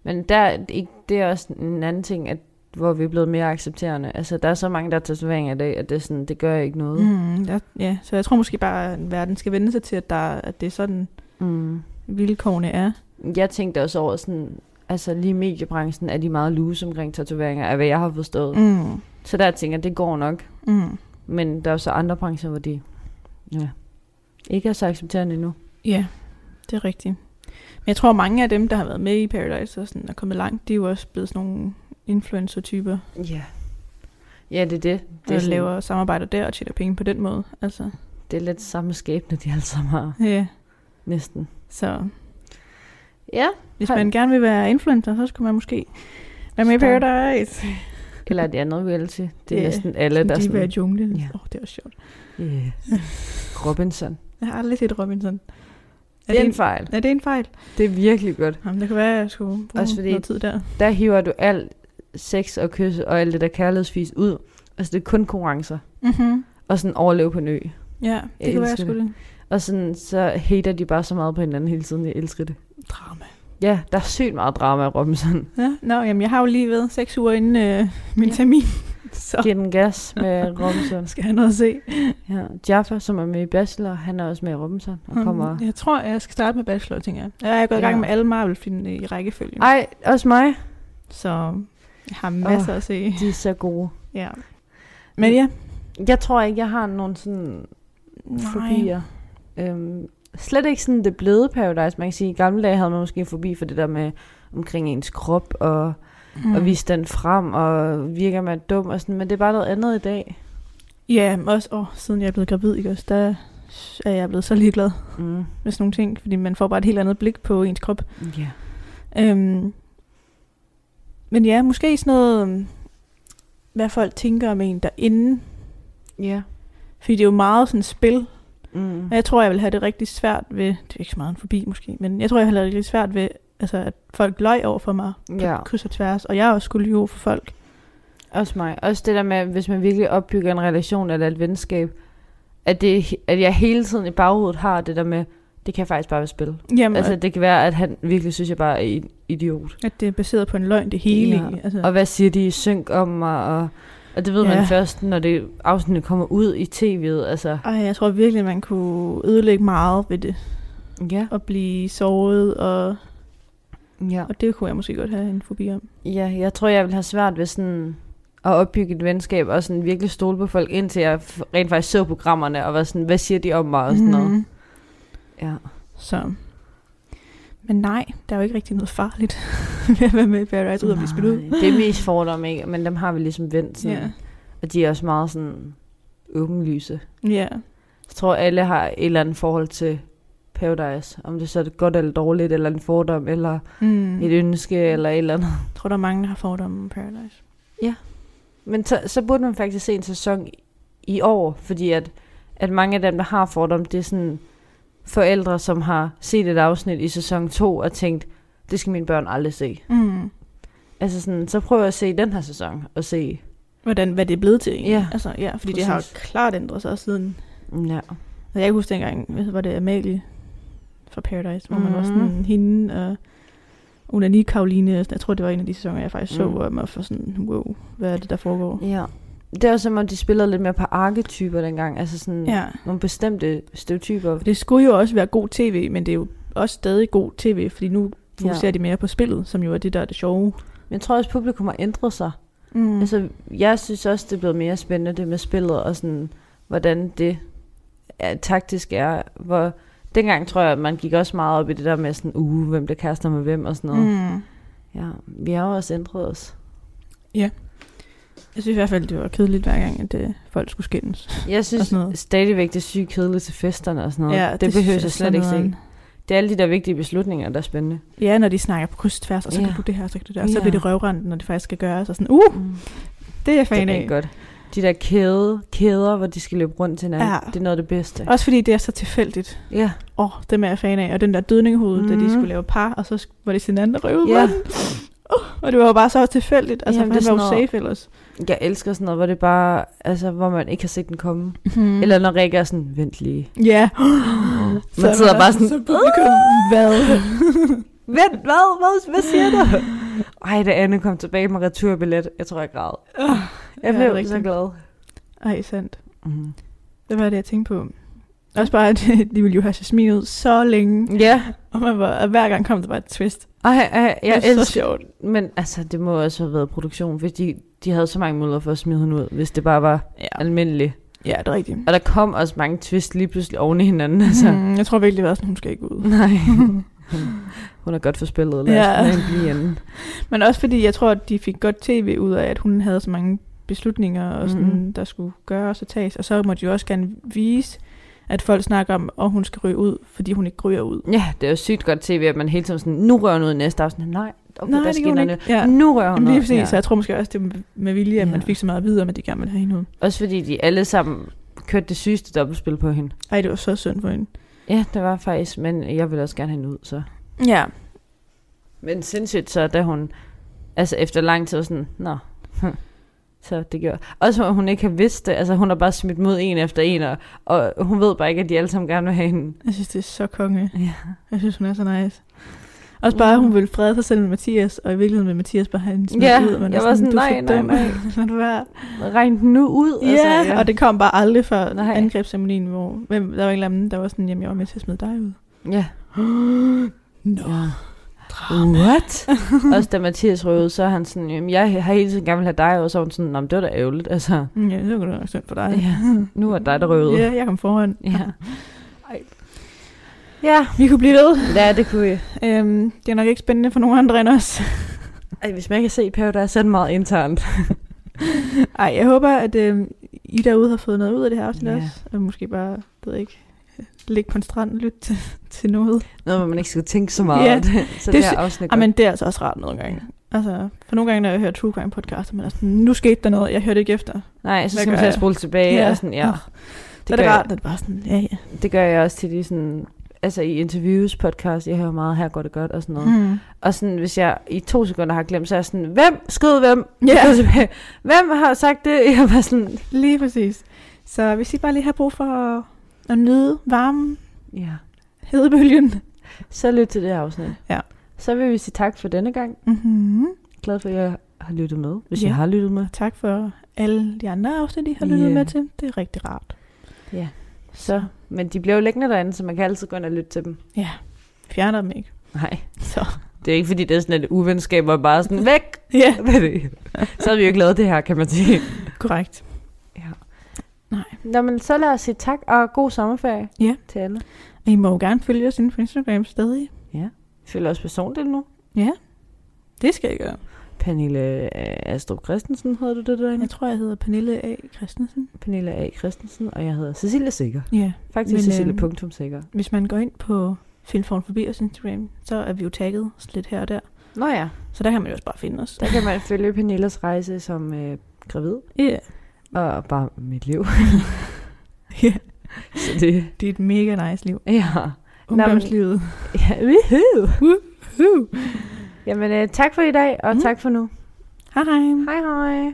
men der, det er også en anden ting, at, hvor vi er blevet mere accepterende. Altså, der er så mange, der har tatoveringer i dag, at det, er sådan, det gør ikke noget.
mm, der, ja, så jeg tror måske bare, at verden skal vende sig til, at, der, at det er sådan,
Mm.
vilkårene er.
Jeg tænkte også over sådan, altså lige i mediebranchen er de meget loose omkring tatoveringer, af hvad jeg har forstået. Mm.
Mm.
Så der tænker jeg, det går nok.
Mm.
Men der er jo så andre brancher, hvor de ja, ikke er så accepterende endnu.
Ja, det er rigtigt. Men jeg tror, mange af dem, der har været med i Paradise og sådan, er kommet langt, de er jo også blevet sådan nogle influencer-typer,
Ja. Ja, det er det. Det er,
der
sådan,
laver samarbejder der og tjener penge på den måde. Altså,
det er lidt samme skæbne, de alle sammen har.
ja.
Næsten.
Så
Ja.
hvis
Hold.
man gerne vil være influencer, så skulle man måske være med i
Start.
Paradise.
Eller det andet reality. Det er
Ja,
næsten alle, der er
de vil i
sådan...
junglen.
Ja.
Åh, oh, det er også sjovt.
Yeah. Øh, Robinson.
Jeg har aldrig set Robinson. Er
Det er en
fejl?
fejl.
Er det en fejl?
Det er virkelig godt.
Jamen, det kan være, at jeg skulle bruge
Også fordi-
noget tid der.
Der hiver du alt sex og kys og alt det der kærlighedsfis ud. Altså, det er kun konkurrencer.
Mm-hmm.
Og sådan overleve på en ø.
Ja, det
Jeg
kan være,
elsker
jeg skulle det.
Og sådan, så hater de bare så meget på hinanden hele tiden. Jeg elsker det.
Drama.
Ja, der er sygt meget drama i Robinson.
Ja, nå, jamen, jeg har jo lige ved seks uger inden øh, min termin, så
Giv den gas med Robinson.
skal jeg have noget at se.
Ja, Jaffa, som er med i Bachelor, han er også med i Robinson og kommer...
Mm, Jeg tror, jeg skal starte med bachelor, tænker jeg. Ja, jeg er gået i
Ja.
gang med alle Marvel-filmene i rækkefølge,
Ej, også mig.
så jeg har masser at se.
De er så gode.
Ja. Men ja,
Jeg tror ikke, jeg har nogen sådan fobier. Øhm, slet ikke sådan det bløde paradise. Man kan sige, i gamle dage havde man måske en fobi for det der med omkring ens krop, og, mm. og vise den frem, og virker man dum og sådan, men det er bare noget andet i dag.
Ja, men også åh, siden jeg er blevet gravid, ikke også, der er jeg blevet så ligeglad
Mm.
med sådan nogle ting, fordi man får bare et helt andet blik på ens krop.
Yeah.
Øhm, men ja, måske sådan noget, øhm, hvad folk tænker om en derinde.
Ja.
Fordi det er jo meget sådan et spil.
Mm.
Og jeg tror, jeg vil have det rigtig svært ved, det er ikke så meget en forbi måske, men jeg tror, jeg vil have det rigtig svært ved, altså, at folk løg over for mig på
Ja.
kryds og tværs. Og jeg også skulle lyve over for folk.
Også mig. Også det der med, hvis man virkelig opbygger en relation eller et venskab, at, det, at jeg hele tiden i baghovedet har det der med, det kan jeg faktisk bare spille.
Jamen,
Altså,
altså,
det kan være, at han virkelig synes, jeg bare er en idiot.
at det er baseret på en løgn, det hele.
Ja.
egentlig. Altså,
Og hvad siger de i synk om mig? Og, og det ved
Ja.
man først, når det afsnittet kommer ud i tv'et. Altså,
ej, jeg tror virkelig, man kunne ødelægge meget ved det.
ja.
At blive såret, og,
ja.
og det kunne jeg måske godt have en fobi om.
Ja, jeg tror, jeg vil have svært ved sådan at opbygge et venskab og sådan virkelig stole på folk, indtil jeg f- rent faktisk så programmerne og var sådan, hvad siger de om mig og sådan noget.
Mhm.
Ja.
Så. Men nej, der er jo ikke rigtig noget farligt ved at være med i Paradise, ud at blive spillet ud.
Nej, Det er mest fordomme, ikke? Men dem har vi ligesom vendt sådan.
Ja.
Og de er også meget sådan åbenlyse.
ja.
Jeg tror, alle har et eller andet forhold til Paradise. Om det så er det godt eller dårligt, eller en fordom, eller
Mm.
mm. et ønske, eller et eller andet.
Jeg tror, der er mange, der har fordomme om Paradise.
Men så, så burde man faktisk se en sæson i- i år, fordi at, at mange af dem, der har fordomme, det er sådan forældre, som har set et afsnit i sæson 2 og tænkt, det skal mine børn aldrig se.
Mm.
Altså sådan, så prøv at se den her sæson og se.
Hvordan, hvad det er blevet til egentlig.
Ja,
altså, ja fordi det har
præcis.
klart ændret sig siden.
Mm, Ja.
Altså, jeg kan huske dengang, hvad var det Amalie fra Paradise, hvor mm. man var
Mhm.
sådan hende og Unani Karoline. Jeg tror, det var en af de sæsoner, jeg faktisk så,
Mm.
hvor jeg var for sådan, wow, hvad er det, der foregår?
ja. Det er også som om, de spillede lidt mere på arketyper dengang. Altså sådan ja.
Ja.
nogle bestemte stereotyper.
Det skulle jo også være god tv, men det er jo også stadig god tv, fordi nu fokuserer
Ja.
ja. de mere på spillet, som jo er det, der er det sjove.
Men jeg tror også, publikum har ændret sig.
Mm. Altså,
Altså, jeg synes også, det er blevet mere spændende, det med spillet, og sådan, hvordan det er, taktisk er. Hvor, dengang tror jeg, at man gik også meget op i det der med sådan, uh, hvem der kaster med hvem og sådan noget. Mm.
mm.
Ja, vi har jo også ændret os.
Jeg synes i hvert fald, det var kedeligt hver gang, at øh, folk skulle skændes.
Jeg synes
sådan noget.
stadigvæk, det er sygt kedeligt til festerne og sådan noget. det, det
synes
behøver jeg
er
slet ikke
nederen.
se. Det er alle de der vigtige beslutninger, der er spændende.
Ja, når de snakker på kryds og tværs, og så
Ja.
kan du det her, og så kan du det, og så
Ja.
bliver det røvrendt, når det faktisk skal gøres, og sådan, uh,
Mm.
det er jeg fan
Det er
af.
ikke godt. De der kæde, kæder, hvor de skal løbe rundt til hinanden,
Ja.
ja. det er noget af det bedste.
Også fordi det er så tilfældigt.
Ja,
Åh, oh, dem er jeg fan af. Og den der dødninghoved, mm. da de
Mhm.
skulle lave par, og så sk- var det sin anden, der røvede
Ja.
yeah. oh, Og det var jo bare så tilfældigt. Altså,
Jamen,
Jamen,
det
han
er
var jo
sådan noget-
safe ellers.
jeg elsker sådan noget, hvor det bare, altså, hvor man ikke har set den komme.
Mm.
Eller når Rikke er sådan, vent lige.
Ja.
Man sidder bare sådan,
så publikum, hvad?
Vent, hvad? Hvad, hvad siger du? Ej, da Anne kom tilbage med returbillet, jeg tror, jeg græd. Jeg
Ja, Mm-hmm.
blev
rigtigt.
så glad.
Ej, sandt.
Mm.
Det var det, jeg tænkte på. Også bare, at de ville jo have Jasmin ud så længe.
Ja,
Og, man var, og hver gang kom der bare et twist.
ej, ej, jeg
det var så
elsker.
sjovt.
Men altså, det må også have været produktion, hvis de, de havde så mange muligheder for at smide hende ud, hvis det bare var
Ja.
almindeligt.
ja, det er rigtigt.
Og der kom også mange twist lige pludselig oven i hinanden, altså.
Mm, jeg tror virkelig, det var sådan, hun skal ikke ud.
Nej. Hun er godt forspillet, lad
Ja.
os ja. blive anden.
Men også fordi, jeg tror, at de fik godt tv ud af, at hun havde så mange beslutninger, og sådan,
Mhm.
mm. der skulle gøres og tages. Og så måtte de jo også gerne vise, at folk snakker om, at hun skal ryge ud, fordi hun ikke ryger ud.
Ja, det er jo sygt godt tv, at man hele tiden sådan, nu rører hun ud i næste afsnit. Nej, okay, Nej, der
det
sker
gjorde hun
noget.
ikke. Ja.
nyt. Nu rører hun
Jamen, lige
ud.
præcis, ja. så jeg tror måske også, det var med vilje, at man
Ja.
fik så meget at vide om, at de gerne ville have hende ud.
Også fordi de alle sammen kørte det sygeste dobbeltspil på hende.
Ej, det var så synd for hende.
Ja, det var faktisk, men jeg ville også gerne have hende ud, så.
Ja,
Men sindssygt så, da hun, altså efter lang tid, var sådan, nå, hm." så det gjorde. Også hvor hun ikke har vidst det, altså hun har bare smidt mod en efter en, og, og hun ved bare ikke, at de alle sammen gerne vil have hende.
jeg synes, det er så konge.
Ja.
Jeg synes, hun er så nice. Også bare, at hun ville frede sig selv med Mathias, og i virkeligheden vil Mathias bare have hende smidt
Ja,
ud. og man er
jeg var sådan,
"Du er
nej,
for
nej,
dum."
nej.
Lad det være.
Regn den nu ud.
Ja, altså, ja, og det kom bare aldrig fra
Nej.
angrebsceremonien, hvor hvem, der var en eller anden, der var sådan, jamen jeg var med til at smide dig ud.
Ja. Nå. What? Ah, Også da Mathias røvede, så er han sådan, jamen, jeg har hele tiden gerne vil have dig, og så var hun sådan, "Nå, men det var da ærgerligt, altså.
Mm, Ja, det var godt nok synd for dig.
Ja, nu er det dig, der røvede.
Ja, jeg kom foran.
Ja. Ja,
Vi kunne blive ved.
ja det kunne vi.
Øhm, det er nok ikke spændende for nogen andre end os.
Ej, hvis man ikke har set Paradise, så er det meget internt.
Ej, jeg håber, at øhm, I derude har fået noget ud af det her afsnit
Ja.
også. Og måske bare, ved jeg ikke, ligge på en strand og lytte til, til noget.
Noget, hvor man ikke skal tænke så meget.
Ja,
Ja, det, så
det
det,
sy-
her afsnit
Ej, men det er altså også rart nogle gange. Altså, for nogle gange, når jeg hører True Crime podcast, man er sådan, nu skete der noget, jeg hørte ikke efter.
Nej, så
Hvad
skal man
gør
til at
jeg?
spole tilbage.
Ja.
Ja. Og sådan, ja.
Det er det
gør,
rart, at det bare sådan, ja, ja.
det gør jeg også til de sådan... altså i interviews, podcast, jeg hører meget, her går det godt og sådan noget. Mm.
Mm.
Og sådan, hvis jeg i to sekunder har glemt, så er jeg sådan, hvem skød hvem?
Ja.
Så er jeg tilbage, Hvem har sagt det? Jeg var sådan,
Lige præcis. Så hvis I bare lige har brug for at, at nyde varmen,
ja,
hedebølgen.
så lyt til det her afsnit.
Ja.
Så vil vi sige tak for denne gang.
Mm-hmm.
Glad for, at jeg har lyttet med, hvis
Ja.
jeg har lyttet med.
Tak for alle de andre afsnit, I har lyttet
Ja.
yeah. med til. Det er rigtig rart.
Ja. Så, men de bliver jo liggende derinde, så man kan altid gå ind og lytte til dem.
Ja, fjerner dem ikke.
Nej.
Så.
Det er ikke, fordi det er sådan et uvenskab, hvor bare sådan, væk
Ja,
med det. Så har vi jo ikke lavet det her, kan man sige.
korrekt.
Nå, men så lad os sige tak, og god sommerferie
Ja.
til alle.
Og I må jo gerne følge os inde på Instagram stadig.
Følg os personligt nu.
Det skal I gøre.
Pernille øh, Astrup Christensen hedder du det derinde.
Jeg tror, jeg hedder Pernille A. Christensen.
Pernille A. Christensen, og jeg hedder Cecilia Sikker.
Ja.
Faktisk
Men,
Cecilia
øhm,
punktum Sikker.
Hvis man går ind på Filmform forbi os Instagram, så er vi jo tagget lidt her og der.
Nå ja,
Så der kan man jo også bare finde os.
der kan man følge Pernilles rejse som øh, gravid,
Ja, yeah.
og bare mit liv.
Ja.
Så det,
det er et mega nice liv.
ja. Nå, men-
Ungdomslivet.
ja woohoo.
Woohoo.
Jamen, øh, tak for i dag, og
Mm.
mm. tak for nu.
Hej hej.
Hej hej.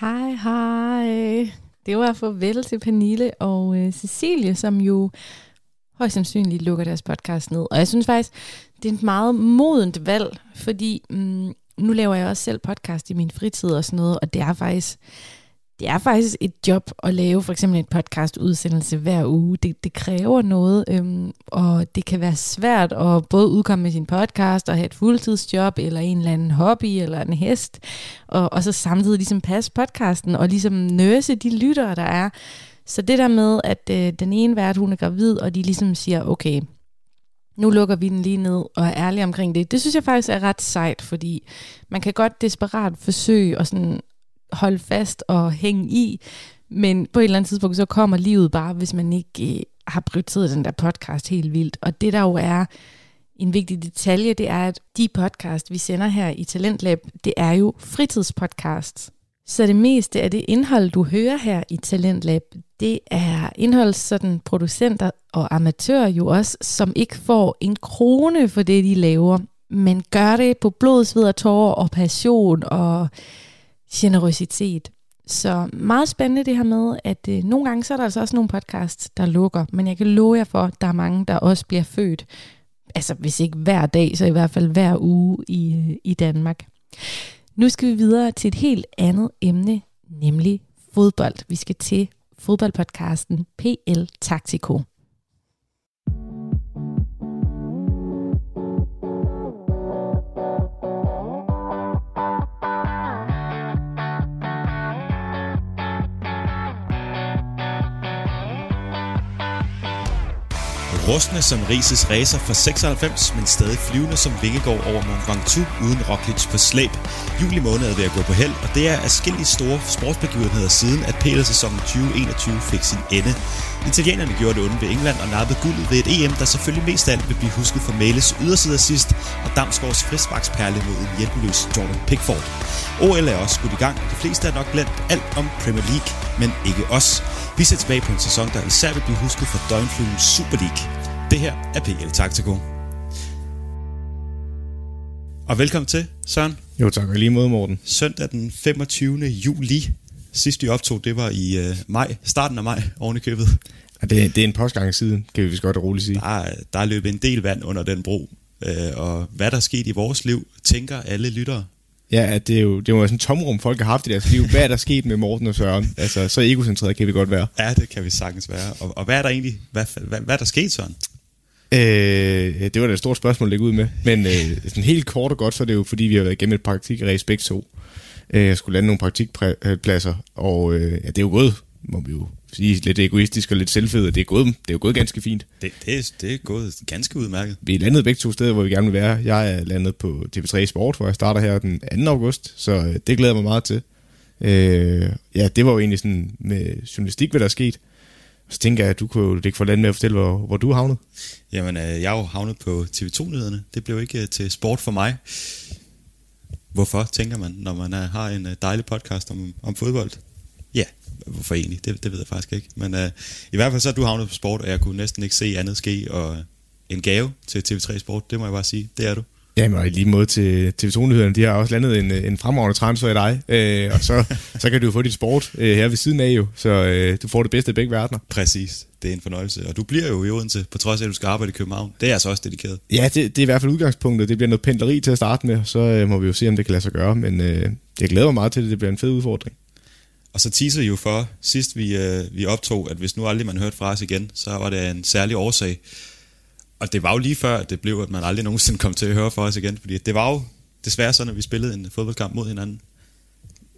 Hej, hej. Det var farvel til Pernille og øh, Cecilie, som jo højst sandsynligt lukker deres podcast ned. Og jeg synes faktisk, det er et meget modent valg, fordi mm, nu laver jeg også selv podcast i min fritid og sådan noget, og det er faktisk... Det er faktisk et job at lave for eksempel en podcastudsendelse hver uge. Det, det kræver noget, øhm, og det kan være svært at både udkomme med sin podcast og have et fuldtidsjob, eller en eller anden hobby, eller en hest og, og så samtidig ligesom passe podcasten og ligesom nøse de lyttere, der er. Så det der med, at øh, den ene vært, hun er gravid, og de ligesom siger, okay, nu lukker vi den lige ned og er ærlige omkring det, det synes jeg faktisk er ret sejt, fordi man kan godt desperat forsøge at sådan holde fast og hænge i, men på et eller andet tidspunkt, så kommer livet bare, hvis man ikke øh, har prioriteret den der podcast helt vildt. Og det der jo er, en vigtig detalje, det er, at de podcast, vi sender her i Talentlab, det er jo fritidspodcasts. Så det meste af det indhold, du hører her i Talentlab, det er indhold, sådan producenter og amatører jo også, som ikke får en krone for det, de laver, men gør det på blod, sved og tårer og passion og generøsitet. Så meget spændende det her med, at øh, nogle gange så er der altså også nogle podcasts, der lukker, men jeg kan love jer for, at der er mange, der også bliver født altså hvis ikke hver dag, så i hvert fald hver uge i, øh, i Danmark. Nu skal vi videre til et helt andet emne, nemlig fodbold. Vi skal til fodboldpodcasten PL Taktiko.
Rustne som Rises racer fra 96, men stadig flyvende som Vingegaard over Mont Ventoux uden Roglic på slæb. Juli måned er ved at gå på held, og det er afskillige store sportsbegivenheder siden, at PL-sæsonen 2021 fik sin ende. Italienerne gjorde det onde ved England og nappede guldet ved et EM, der selvfølgelig mest af alt vil blive husket for Mæles yderside sidst, og Damsgaards frisbaksperle mod en hjælpeløs Jordan Pickford. OL er også skudt i gang, og de fleste er nok glemt alt om Premier League, men ikke os. Vi ser tilbage på en sæson, der især vil blive husket for døgnflyvens Super League. Det her er PL Taktiko. Og velkommen til, Søren.
Jo tak, og i lige måde, Morten.
Søndag den 25. juli. Sidst vi optog, det var i øh, maj, starten af maj, oven i købet.
Ja, det, det er en postgang siden, kan vi vist godt og roligt sige.
Der, er- der er løbet en del vand under den bro. Øh, og hvad der er sket i vores liv, tænker alle lyttere.
Ja, at det er jo det var sådan et tomrum, folk har haft i deres liv. Hvad er der sket med Morten og Søren? Altså, så egocentreret kan vi godt være.
Ja, det kan vi sagtens være. Og, og hvad er der egentlig, hvad, hvad, hvad er der sket, Søren?
Øh, det var da et stort spørgsmål at lægge ud med. Men øh, sådan helt kort og godt, så er det jo fordi, vi har været igennem et praktikræs begge to. Øh, jeg skulle lande nogle praktikpladser, og øh, ja, det er jo gået, må vi jo sige, lidt egoistisk og lidt selvfedt. Det er gået, det er jo gået ganske fint.
Det, det, er- det er gået ganske udmærket.
vi landede begge to steder, hvor vi gerne vil være. Jeg er landet på TV3 Sport, hvor jeg starter her den 2. august, så øh, det glæder jeg mig meget til. Øh, ja, det var jo egentlig sådan med journalistik, hvad der er sket. Og så tænker jeg, at du kunne jo ikke få landet med at fortælle, hvor, hvor du havnede.
Jamen, øh, jeg er jo havnet på TV2-nyhederne. Det blev ikke øh, til sport for mig. Hvorfor, tænker man, når man øh, har en øh, dejlig podcast om, om fodbold? Hvorfor egentlig? Det, det ved jeg faktisk ikke. Men øh, i hvert fald så er du havnet på sport, og jeg kunne næsten ikke se andet ske. Og øh, en gave til TV3 Sport, det må jeg bare sige. Det er du.
Jamen, og i lige måde til TV2-nyhederne, de har også landet en, øh, en fremragende transfer i dig, øh, og så, så kan du jo få dit sport øh, her ved siden af jo, så øh, du får det bedste af begge verdener.
Præcis. Det er en fornøjelse. Og du bliver jo i Odense, på trods af, at du skal arbejde i København. Det er altså også dedikeret.
Ja, det, det er i hvert fald udgangspunktet. Det bliver noget pendleri til at starte med, og så øh, må vi jo se, om det kan lade sig gøre, men øh, jeg glæder mig meget til det. Det bliver en fed udfordring.
Og så teaser I jo for, sidst vi, øh, vi optog, at hvis nu aldrig man hørte fra os igen, så var det en særlig årsag. Og det var jo lige før, at det blev, at man aldrig nogensinde kom til at høre fra os igen. Fordi det var jo desværre sådan, at vi spillede en fodboldkamp mod hinanden.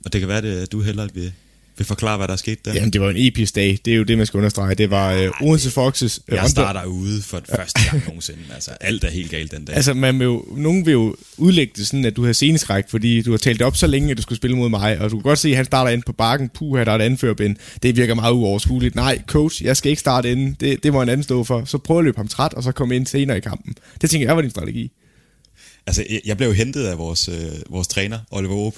Og det kan være, det, at du hellere vil, vil forklare, hvad der er sket der.
Jamen, det var en episk dag. Det er jo det, man skal understrege. Det var øh, Odense Foxes... Øh,
Jeg
omdø-
starter ude for første gang nogensinde. Altså, alt er helt galt den dag.
Altså, man vil jo, nogen vil jo udlægge det sådan, at du har seneskræk, fordi du har talt det op så længe, at du skulle spille mod mig, og du kan godt se, at han starter ind på bakken, puha, der er et anførbind. Det virker meget uoverskueligt. Nej, coach, jeg skal ikke starte inden. Det, det må en anden stå for. Så prøv at løbe ham træt, og så komme ind senere i kampen. Det tænker jeg var din strategi.
Altså, jeg- jeg blev jo hentet af vores, øh, vores træner, Oliver Aab,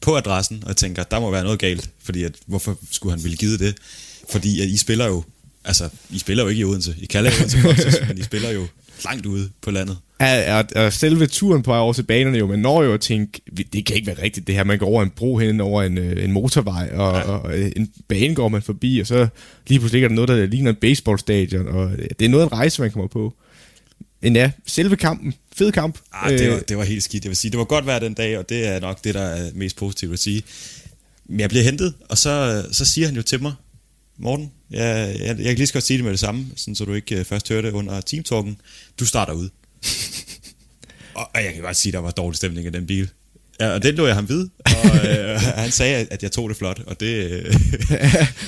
på adressen, og jeg tænker, der må være noget galt, fordi at, hvorfor skulle han ville give det? Fordi at I spiller jo, altså, I spiller jo ikke i Odense. I kalder jer Odense Foxes, men I spiller jo langt ude på landet.
Ja, og, og selve turen på vej over til banerne jo, man når jo at tænke, "Vi- det kan ikke være rigtigt det her, man går over en bro hen over en, øh, en motorvej, og, ja. og, og en bane går man forbi, og så lige pludselig ligger der noget, der ligner en baseballstadion, og øh, det er noget af en rejse, man kommer på. Men ja, selve kampen, fed kamp.
Ah, det, var,
Øh,
det var helt skidt, jeg vil sige. Det var godt vejr den dag, og det er nok det, der er mest positivt at sige. Men jeg bliver hentet, og så, så siger han jo til mig, Morten, jeg, jeg, jeg kan lige så godt sige det med det samme, sådan, så du ikke øh, først hører det under teamtalken. Du starter ud. og, og jeg kan godt sige, der var dårlig stemning i den bil. Ja, og det lå jeg ham ved, og øh, han sagde, at- at jeg tog det flot, og det, øh,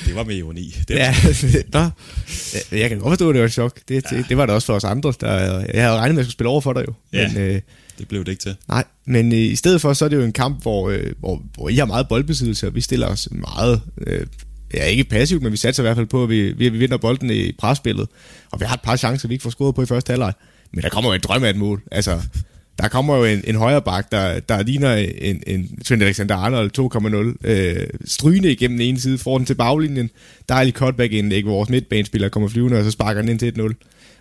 det var med ironi. Det,
Ja, nå. Ja, Jeg kan godt forstå, at det var et chok. Det, ja. det, det var det også for os andre. Der, jeg havde regnet med, at jeg skulle spille over for dig jo.
Ja.
Men, øh,
det blev det ikke til.
Nej, men øh, i stedet for, så er det jo en kamp, hvor, øh, hvor, hvor I har meget boldbesiddelse, og vi stiller os meget, øh, ja ikke passivt, men vi satser i hvert fald på, at vi, vi, vi vinder bolden i presspillet. Og vi har et par chancer, vi ikke får scoret på i første halvleg. Men der kommer jo en drøm af et mål. Altså, der kommer jo en, en højre bak, der, der ligner en, en Trent Alexander-Arnold 2.0. Øh, strygende igennem den ene side, får den til baglinjen. Dejlig cutback-indlæg, hvor vores midtbanespiller kommer flyvende, og så sparker den ind til 1-0.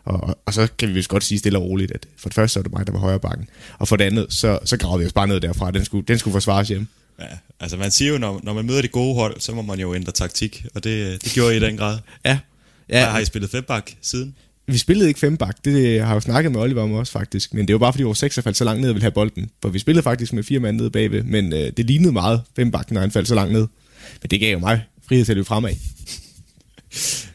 Og, og, og så kan vi vist godt sige stille og roligt, at for det første så er det mig, der var højre bakken, og for det andet, så, så gravede vi os bare ned derfra. Den skulle, den skulle forsvares hjem.
Ja, altså man siger jo, når, når man møder det gode hold, så må man jo ændre taktik, og det, det gjorde I i den grad.
Ja.
Ja. Har
ja
I spillet fembak siden?
vi spillede ikke fembak, det har jeg jo snakket med Oliver om også faktisk, men det var bare fordi vores sekser faldt så langt ned og ville have bolden. For vi spillede faktisk med fire mand nede bagved, men øh, det lignede meget fembakken, når han faldt så langt ned. Men det gav jo mig frihed til at løbe fremad.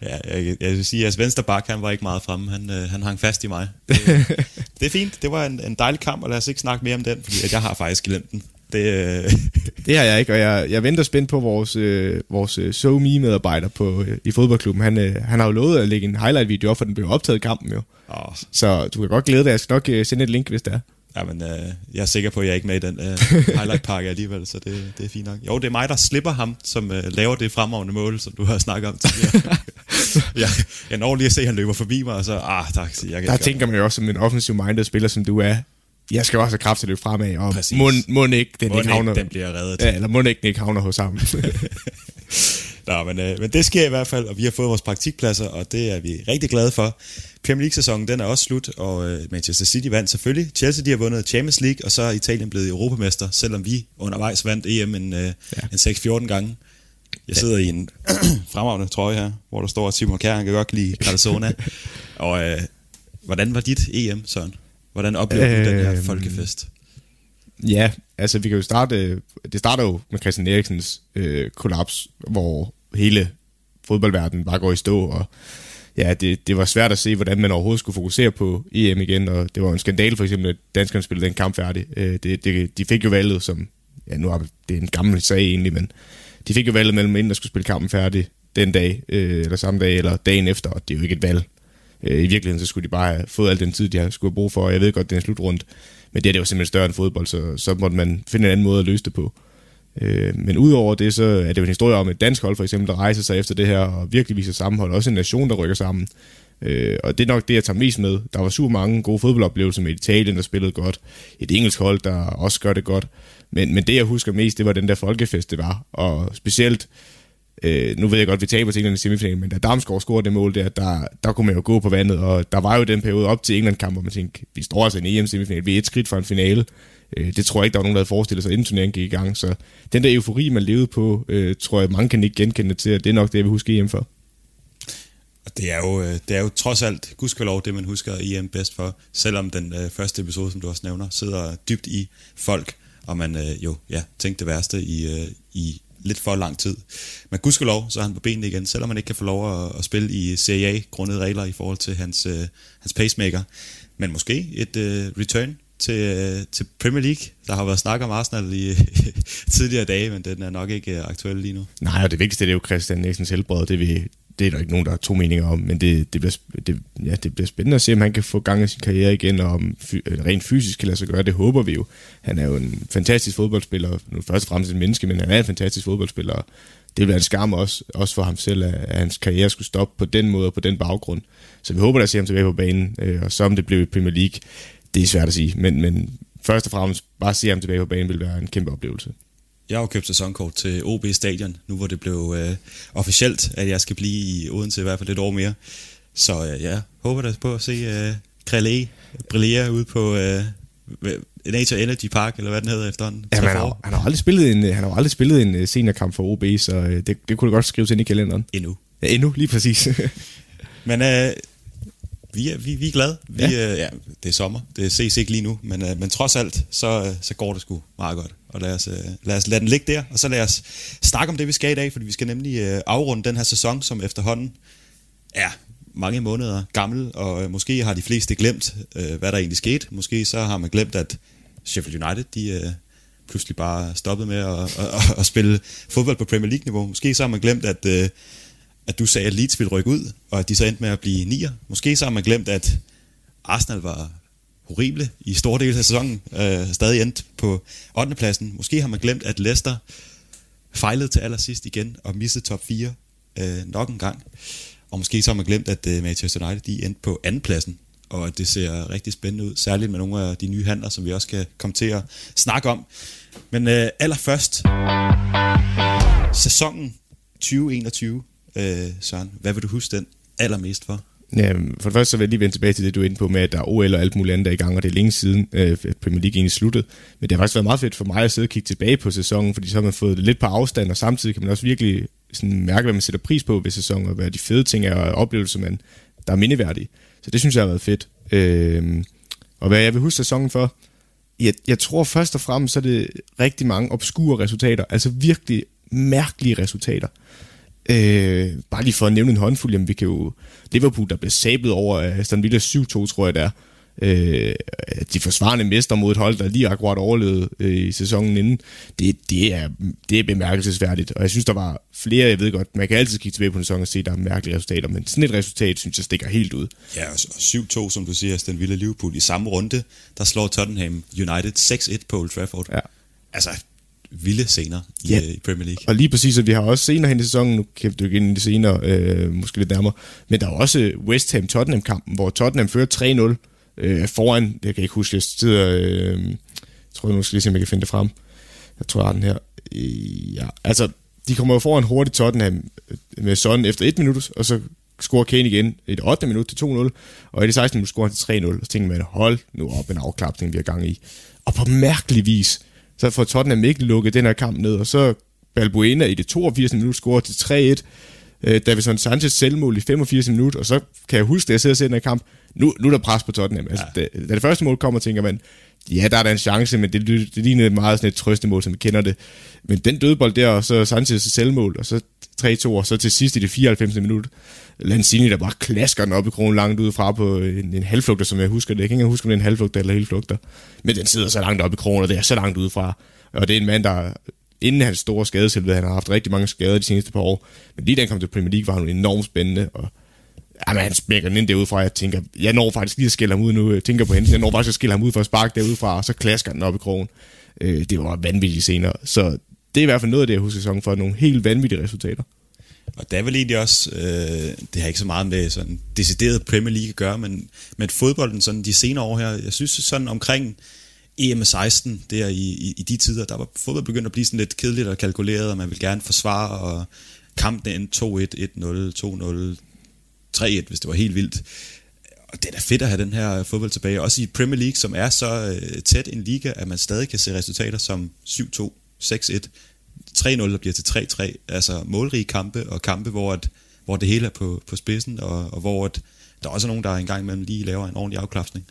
Ja, jeg, jeg vil sige, at jeres venstre bak, han var ikke meget fremme. Han, øh, han hang fast i mig. Det, det er fint. Det var en, en dejlig kamp, og lad os ikke snakke mere om den, fordi at jeg har faktisk glemt den. Det, øh,
Det har jeg ikke, og jeg, jeg venter spændt på vores, øh, vores øh, SoMe-medarbejder på, øh, i fodboldklubben. Han, øh, han har jo lovet at lægge en highlight-video op, for den blev optaget i kampen jo.
åh,
Så du kan godt glæde dig. Jeg skal nok øh, sende et link, hvis det er.
jamen, øh, jeg er sikker på, at jeg er ikke med i den øh, highlight-pakke alligevel, så det, det er fint nok. Jo, det er mig, der slipper ham, som øh, laver det fremragende mål, som du har snakket om tidligere. jeg, jeg når lige at se, at han løber forbi mig, og så, ah, tak, siger jeg. jeg kan
Der
ikke gøre
tænker man jo også som en offensiv minded spiller, som du er. Jeg skal også have kraft til at løbe fremad, og
Præcis.
mund, mund ikke, den
Mon
ikke
ikke,
havner...
den bliver reddet.
Ja, eller mund ikke, den ikke havner hos ham.
Nå, men, øh, men det sker i hvert fald, og vi har fået vores praktikpladser, og det er vi rigtig glade for. Premier League-sæsonen den er også slut, og øh, Manchester City vandt selvfølgelig. Chelsea de har vundet Champions League, og så er Italien blevet europamester, selvom vi undervejs vandt EM en, øh, ja. en 6-14 gange. Jeg sidder i en fremragende trøje her, hvor der står, at Simon Kjær han kan godt lide Calzona. og øh, hvordan var dit EM, Søren? Hvordan oplevede øh, du den her
Øhm,
folkefest?
ja, altså vi kan jo starte... øh, Det starter jo med Christian Eriksens øh, kollaps, hvor hele fodboldverdenen bare går i stå, og ja, det, det var svært at se, hvordan man overhovedet skulle fokusere på EM igen, og det var en skandal for eksempel, at danskerne spillede den kamp færdig. Øh, det, det, de fik jo valget som, ja nu er det en gammel sag egentlig, men de fik jo valget mellem inden der skulle spille kampen færdig den dag, øh, eller samme dag, eller dagen efter, og det er jo ikke et valg. Øh, I virkeligheden så skulle de bare have fået al den tid, de har- skulle have brug for, og jeg ved godt, det er en slutrunde, men det, her, det var simpelthen større end fodbold, så, så måtte man finde en anden måde at løse det på. Øh, men udover det, så er det jo en historie om et dansk hold, for eksempel, der rejser sig efter det her og virkelig viser sammenhold. Også en nation, der rykker sammen. Øh, og det er nok det, jeg tager mest med. Der var super mange gode fodboldoplevelser med Italien, der spillede godt. Et engelsk hold, der også gør det godt. Men, men det, jeg husker mest, det var den der folkefest, det var. Og specielt Øh, nu ved jeg godt, at vi taber til England i semifinalen, men da Damsgaard scorede det mål der, der, der kunne man jo gå på vandet, og der var jo den periode op til England-kamp, hvor man tænkte, vi står altså i en EM-semifinal, vi er et skridt fra en finale. Øh, det tror jeg ikke, der var nogen, der havde forestillet sig, inden turneringen gik i gang. Så den der eufori, man levede på, øh, tror jeg, mange kan ikke genkende til, og det er nok det, jeg vil huske EM for.
Og det er jo, øh, det er jo trods alt, gudskelov, det man husker EM bedst for, selvom den øh, første episode, som du også nævner, sidder dybt i folk, og man øh, jo ja, tænkte det værste i, øh, i lidt for lang tid. Men gudskelov, så er han på benene igen, selvom man ikke kan få lov at, at spille i Serie A, grundet regler i forhold til hans, øh, hans pacemaker. Men måske et øh, return til, øh, til Premier League. Der har været snak om Arsenal i tidligere dage, men den er nok ikke øh, aktuel lige nu.
Nej, og det vigtigste det er jo Christian Nielsens helbred, det, vi, det er der ikke nogen, der har to meninger om, men det, det, bliver, sp- det, ja, det bliver spændende at se, om han kan få gang i sin karriere igen, og om fy, øh, rent fysisk kan lade sig gøre, det håber vi jo. Han er jo en fantastisk fodboldspiller, nu først og fremmest et menneske, men han er en fantastisk fodboldspiller, og det vil være en skam også, også for ham selv, at, at hans karriere skulle stoppe på den måde og på den baggrund. Så vi håber da at se ham tilbage på banen, øh, og så om det bliver i Premier League, det er svært at sige, men, men først og fremmest bare at se ham tilbage på banen vil være en kæmpe oplevelse.
Jeg har jo købt sæsonkort til OB Stadion, nu hvor det blev øh, officielt, at jeg skal blive i Odense i hvert fald et år mere. Så øh, jeg håber da på at se øh, Krelé brillere ude på øh, Nature Energy Park, eller hvad den hedder efterhånden.
Ja,
Tre
men han,
forår.
har, han har aldrig spillet en, øh, han har jo aldrig spillet en øh, seniorkamp for OB, så øh, det, det kunne du godt skrive ind i kalenderen.
Endnu.
Ja, endnu, lige præcis.
Men øh, vi, er, vi, vi er glade. Vi, ja. Øh, ja, det er sommer. Det ses ikke lige nu, men, øh, men trods alt, så, øh, så går det sgu meget godt. Og lad os, øh, lad os lade den ligge der, og så lad os snakke om det, vi skal i dag, fordi vi skal nemlig øh, afrunde den her sæson, som efterhånden er mange måneder gammel, og øh, måske har de fleste glemt, øh, hvad der egentlig skete. Måske så har man glemt, at Sheffield United, de... Øh, pludselig bare stoppet med at, at, at, at spille fodbold på Premier League-niveau. Måske så har man glemt, at øh, at du sagde, at Leeds ville rykke ud, og at de så endte med at blive nier. Måske så har man glemt, at Arsenal var horrible i store dele af sæsonen, øh, stadig endte på 8. pladsen. Måske har man glemt, at Leicester fejlede til allersidst igen og missede top 4 øh, nok en gang. Og måske så har man glemt, at øh, Manchester United de endte på anden pladsen, og at det ser rigtig spændende ud, særligt med nogle af de nye handler, som vi også skal komme til at snakke om. Men øh, allerførst, sæsonen 2021, øh, Søren, hvad vil du huske den allermest for?
ja, Øhm, for det første så vil jeg lige vende tilbage til det, du er inde på med, at der er OL og alt muligt andet, der er i gang, og det er længe siden, øh, at Premier League egentlig sluttede. Men det har faktisk været meget fedt for mig at sidde og kigge tilbage på sæsonen, fordi så har man fået det lidt på afstand, og samtidig kan man også virkelig sådan mærke, hvad man sætter pris på ved sæsonen, og hvad de fede ting er, og oplevelser, man, der er mindeværdige. Så det synes jeg har været fedt. Øh, og hvad jeg vil huske sæsonen for, jeg, jeg tror først og fremmest, så er det rigtig mange obskure resultater, altså virkelig mærkelige resultater. Øh, bare lige for at nævne en håndfuld, jamen vi kan jo... Liverpool, der blev sablet over af Aston Villa 7-2, tror jeg det er. Øh, de forsvarende mester mod et hold, der lige akkurat overlevede øh, i sæsonen inden. Det, det, er, det er bemærkelsesværdigt, og jeg synes, der var flere, jeg ved godt, man kan altid kigge tilbage på en sæson og se, der er mærkelige resultater, men sådan et resultat, synes jeg, stikker helt ud.
Ja, og s- og 7-2, som du siger, Aston Villa Liverpool. I samme runde, der slår Tottenham United 6-1 på Old Trafford.
Ja.
Altså, vilde scener i,
Ja.
yeah. i Premier League.
Og lige præcis, at vi har også senere hen i sæsonen, nu kan vi dykke ind i det senere, øh, måske lidt nærmere, men der er også øh, West Ham-Tottenham-kampen, hvor Tottenham fører 3-0 øh, foran, det kan jeg ikke huske, jeg sidder, øh, jeg tror jeg nu skal lige se, om jeg kan finde det frem. Jeg tror, jeg har den her. Øh, ja, altså, de kommer jo foran hurtigt Tottenham øh, med sådan efter et minut, og så scorer Kane igen i det 8. minut til 2-0, og i det 16. minut scorer han til 3-0, og så tænker man, hold nu op en afklapning, vi har gang i. Og på mærkelig vis, så får Tottenham ikke lukket den her kamp ned, og så Balbuena i det 82. minut scorer til 3-1, øh, Davison Sanchez selvmål i 85. minut, og så kan jeg huske, da jeg sidder og ser den her kamp, nu, nu er der pres på Tottenham. Altså, ja. da, da, det første mål kommer, tænker man, ja, der er da en chance, men det, ly- det lignede meget sådan et trøstemål, som vi kender det. Men den dødbold der, og så Sanchez selvmål, og så 3-2, og så til sidst i det 94. minut, Lanzini, der bare klasker den op i krogen langt udefra på en, en halvflugter, som jeg husker det. Jeg kan ikke engang huske, om det er en halvflugter eller helflugter. Men den sidder så langt op i krogen, og det er så langt udefra. Og det er en mand, der inden hans store skadeshelvede, han har haft rigtig mange skader de seneste par år, men lige da han kom til Premier League, var han jo enormt spændende, og jamen, han smækker den ind derudfra, jeg tænker, jeg når faktisk lige at skille ham ud nu, jeg tænker på hende, jeg når faktisk at skille ham ud for at sparke derudfra, og så klasker den op i krogen. Øh, det var vanvittigt senere, så det er i hvert fald noget af det, jeg husker sæsonen for, nogle helt vanvittige resultater.
Og det er vel egentlig også, øh, det har ikke så meget med sådan decideret Premier League at gøre, men, men fodbolden sådan de senere år her, jeg synes sådan omkring E EM16, der i, i, i de tider, der var fodbold begyndt at blive sådan lidt kedeligt og kalkuleret, og man ville gerne forsvare og kampene endte 2-1, 1-0, 2-0, 3-1, hvis det var helt vildt. Og det er da fedt at have den her øh, fodbold tilbage. Også i Premier League, som er så øh, tæt en liga, at man stadig kan se resultater som 7-2, 6-1, 3-0, der bliver til 3-3. Altså målrige kampe og kampe, hvor, at, hvor det hele er på, på spidsen, og, og hvor at, der er også nogen, der engang imellem lige laver en ordentlig afklapsning.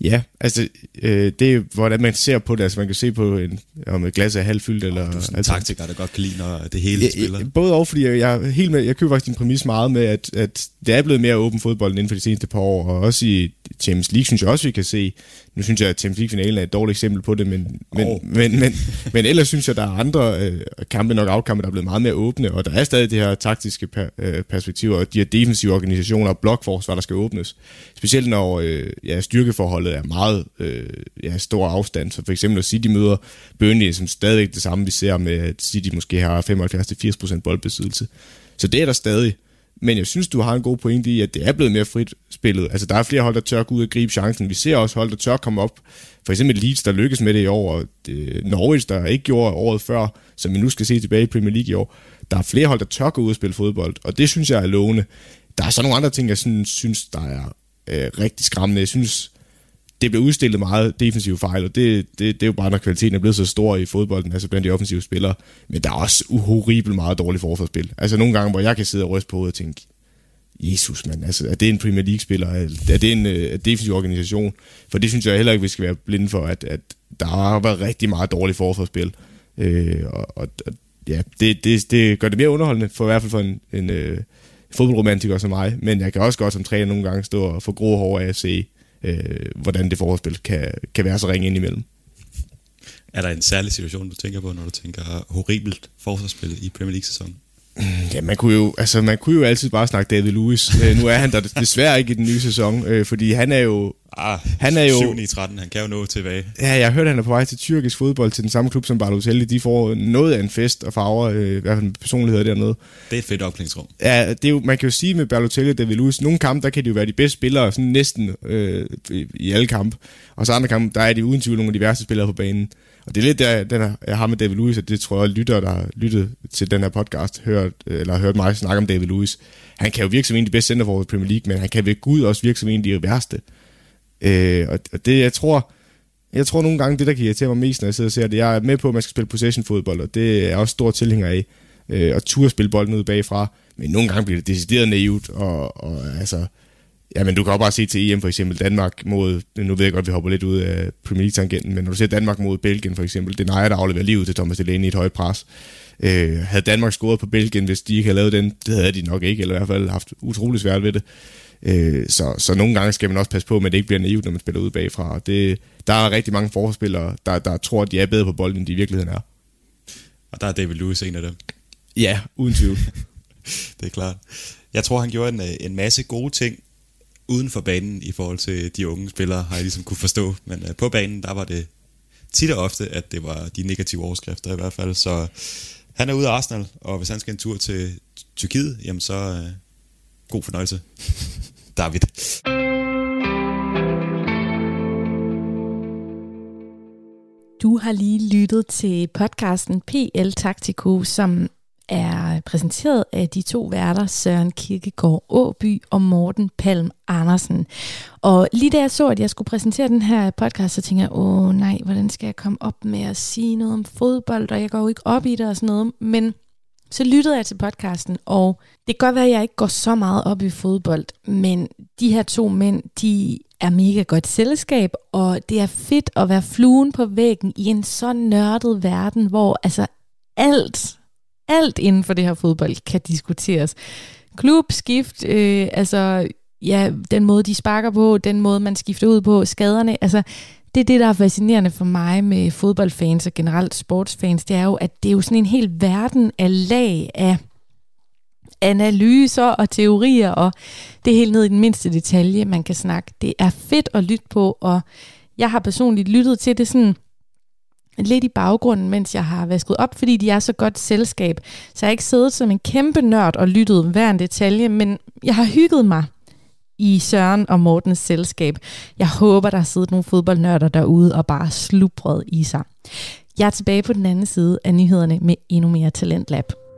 Ja, altså øh, det er, hvordan man ser på det. Altså man kan se på, en, om et glas er halvfyldt. Eller,
Du er sådan en
altså,
taktiker, der godt kan lide, når det hele
Ja,
spiller.
ja, både og, fordi jeg, jeg, er helt med, jeg køber faktisk din præmis meget med, at, at det er blevet mere åben fodbold inden for de seneste par år, og også i Champions League synes jeg også, vi kan se, nu synes jeg, at Champions League-finalen er et dårligt eksempel på det, men, men,
Åh.
oh. men, men, men ellers synes jeg, der er andre øh, kampe, nok afkampe, der er blevet meget mere åbne, og der er stadig det her taktiske per, øh, perspektiv, og de her defensive organisationer og blokforsvar, der skal åbnes. Specielt når øh, ja, styrkeforholdet er meget øh, ja, stor afstand, så for eksempel når City møder Burnley, som stadigvæk det samme, vi ser med, at City måske har 75-80% boldbesiddelse. Så det er der stadig. Men jeg synes, du har en god pointe i, at det er blevet mere frit spillet. Altså, der er flere hold, der tør gå ud og gribe chancen. Vi ser også hold, der tør komme op. For eksempel Leeds, der lykkes med det i år, og øh, Norwich, der ikke gjorde året før, som vi nu skal se tilbage i Premier League i år. Der er flere hold, der tør gå ud og spille fodbold, og det synes jeg er lovende. Der er så nogle andre ting, jeg sådan, synes, der er øh, rigtig skræmmende. Jeg synes, det blev udstillet meget defensive fejl, og det, det, det er jo bare, når kvaliteten er blevet så stor i fodbolden, altså blandt de offensive spillere. Men der er også horribelt meget dårligt forsvarsspil. Altså nogle gange, hvor jeg kan sidde og ryste på hovedet og tænke, Jesus mand, altså er det en Premier League-spiller? Er det en øh, defensiv organisation? For det synes jeg heller ikke, vi skal være blinde for, at, at der har været rigtig meget dårligt forsvarsspil. Øh, og, og, og ja, det, det, det gør det mere underholdende, for i hvert fald for en, en øh, fodboldromantiker som mig. Men jeg kan også godt som træner nogle gange stå og få grå hår af at se, øh, hvordan det forsvarsspil kan, kan være så ringe indimellem.
Er der en særlig situation, du tænker på, når du tænker horribelt forsvarsspil i Premier League-sæsonen?
Ja, man kunne jo, altså, man kunne jo altid bare snakke David Lewis. Øh, nu er han der desværre ikke i den nye sæson, øh, fordi han er jo...
Ah,
Han er jo-
7 i 13, han kan jo nå tilbage.
Ja, jeg hørte, han er på vej til tyrkisk fodbold til den samme klub som Balotelli. De får noget af en fest og farver, øh, i hvert fald personligheder dernede.
Det er et fedt opklædningsrum.
Ja, det er jo, man kan jo sige med Berlotelli og David Lewis, nogle kampe, der kan de jo være de bedste spillere, sådan næsten øh, i- i alle kampe. Og så andre kampe, der er de uden tvivl nogle af de værste spillere på banen. Og det er lidt der, den her, jeg har med David Lewis, og det tror jeg, lytter, der har lyttet til den her podcast, hørt, eller har hørt mig snakke om David Lewis. Han kan jo virke som en af de bedste centerforhold i Premier League, men han kan ved Gud også virke som en af de værste. Øh, og, og det, jeg tror, jeg tror nogle gange, det der kan irritere mig mest, når jeg sidder og ser det, jeg er med på, at man skal spille possession-fodbold, og det er jeg også stor tilhænger af, øh, og turde spille bolden ud bagfra, men nogle gange bliver det decideret naivt, og, og altså, jamen du kan jo bare se til EM for eksempel, Danmark mod, nu ved jeg godt, vi hopper lidt ud af Premier League-tangenten, men når du ser Danmark mod Belgien for eksempel, det er Naja, der afleverer livet til Thomas Delaney i et højt pres. Øh, havde Danmark scoret på Belgien, hvis de ikke havde lavet den, det havde de nok ikke, eller i hvert fald haft utrolig svært ved det. Øh, så, så nogle gange skal man også passe på, at det ikke bliver naivt, når man spiller ud bagfra. Og Det, der er rigtig mange forspillere, der, der tror, at de er bedre på bolden, end de i virkeligheden er.
Og der er David Lewis en af dem.
Ja, uden tvivl.
Det er klart. Jeg tror, han gjorde en, øh, en masse gode ting uden for banen i forhold til de unge spillere, har jeg ligesom kunne forstå. Men øh, på banen, der var det tit og ofte, at det var de negative overskrifter i hvert fald. Så han er ude af Arsenal, og hvis han skal en tur til Tyrkiet, jamen så øh, god fornøjelse. David.
Du har lige lyttet til podcasten PL Taktiko, som er præsenteret af de to værter, Søren Kirkegaard Åby og Morten Palm Andersen. Og lige da jeg så, at jeg skulle præsentere den her podcast, så tænkte jeg, åh nej, hvordan skal jeg komme op med at sige noget om fodbold, og jeg går jo ikke op i det og sådan noget. Men så lyttede jeg til podcasten, og det kan godt være, at jeg ikke går så meget op i fodbold, men de her to mænd, de er mega godt selskab, og det er fedt at være fluen på væggen i en så nørdet verden, hvor altså alt, alt inden for det her fodbold kan diskuteres. Klub, skift, øh, altså ja, den måde, de sparker på, den måde, man skifter ud på, skaderne, altså det er det, der er fascinerende for mig med fodboldfans og generelt sportsfans, det er jo, at det er jo sådan en hel verden af lag af analyser og teorier, og det er helt ned i den mindste detalje, man kan snakke. Det er fedt at lytte på, og jeg har personligt lyttet til det sådan lidt i baggrunden, mens jeg har vasket op, fordi de er så godt selskab. Så jeg har ikke siddet som en kæmpe nørd og lyttet hver en detalje, men jeg har hygget mig i Søren og Mortens selskab. Jeg håber, der har siddet nogle fodboldnørder derude og bare slubret i sig. Jeg er tilbage på den anden side af nyhederne med endnu mere Talentlab.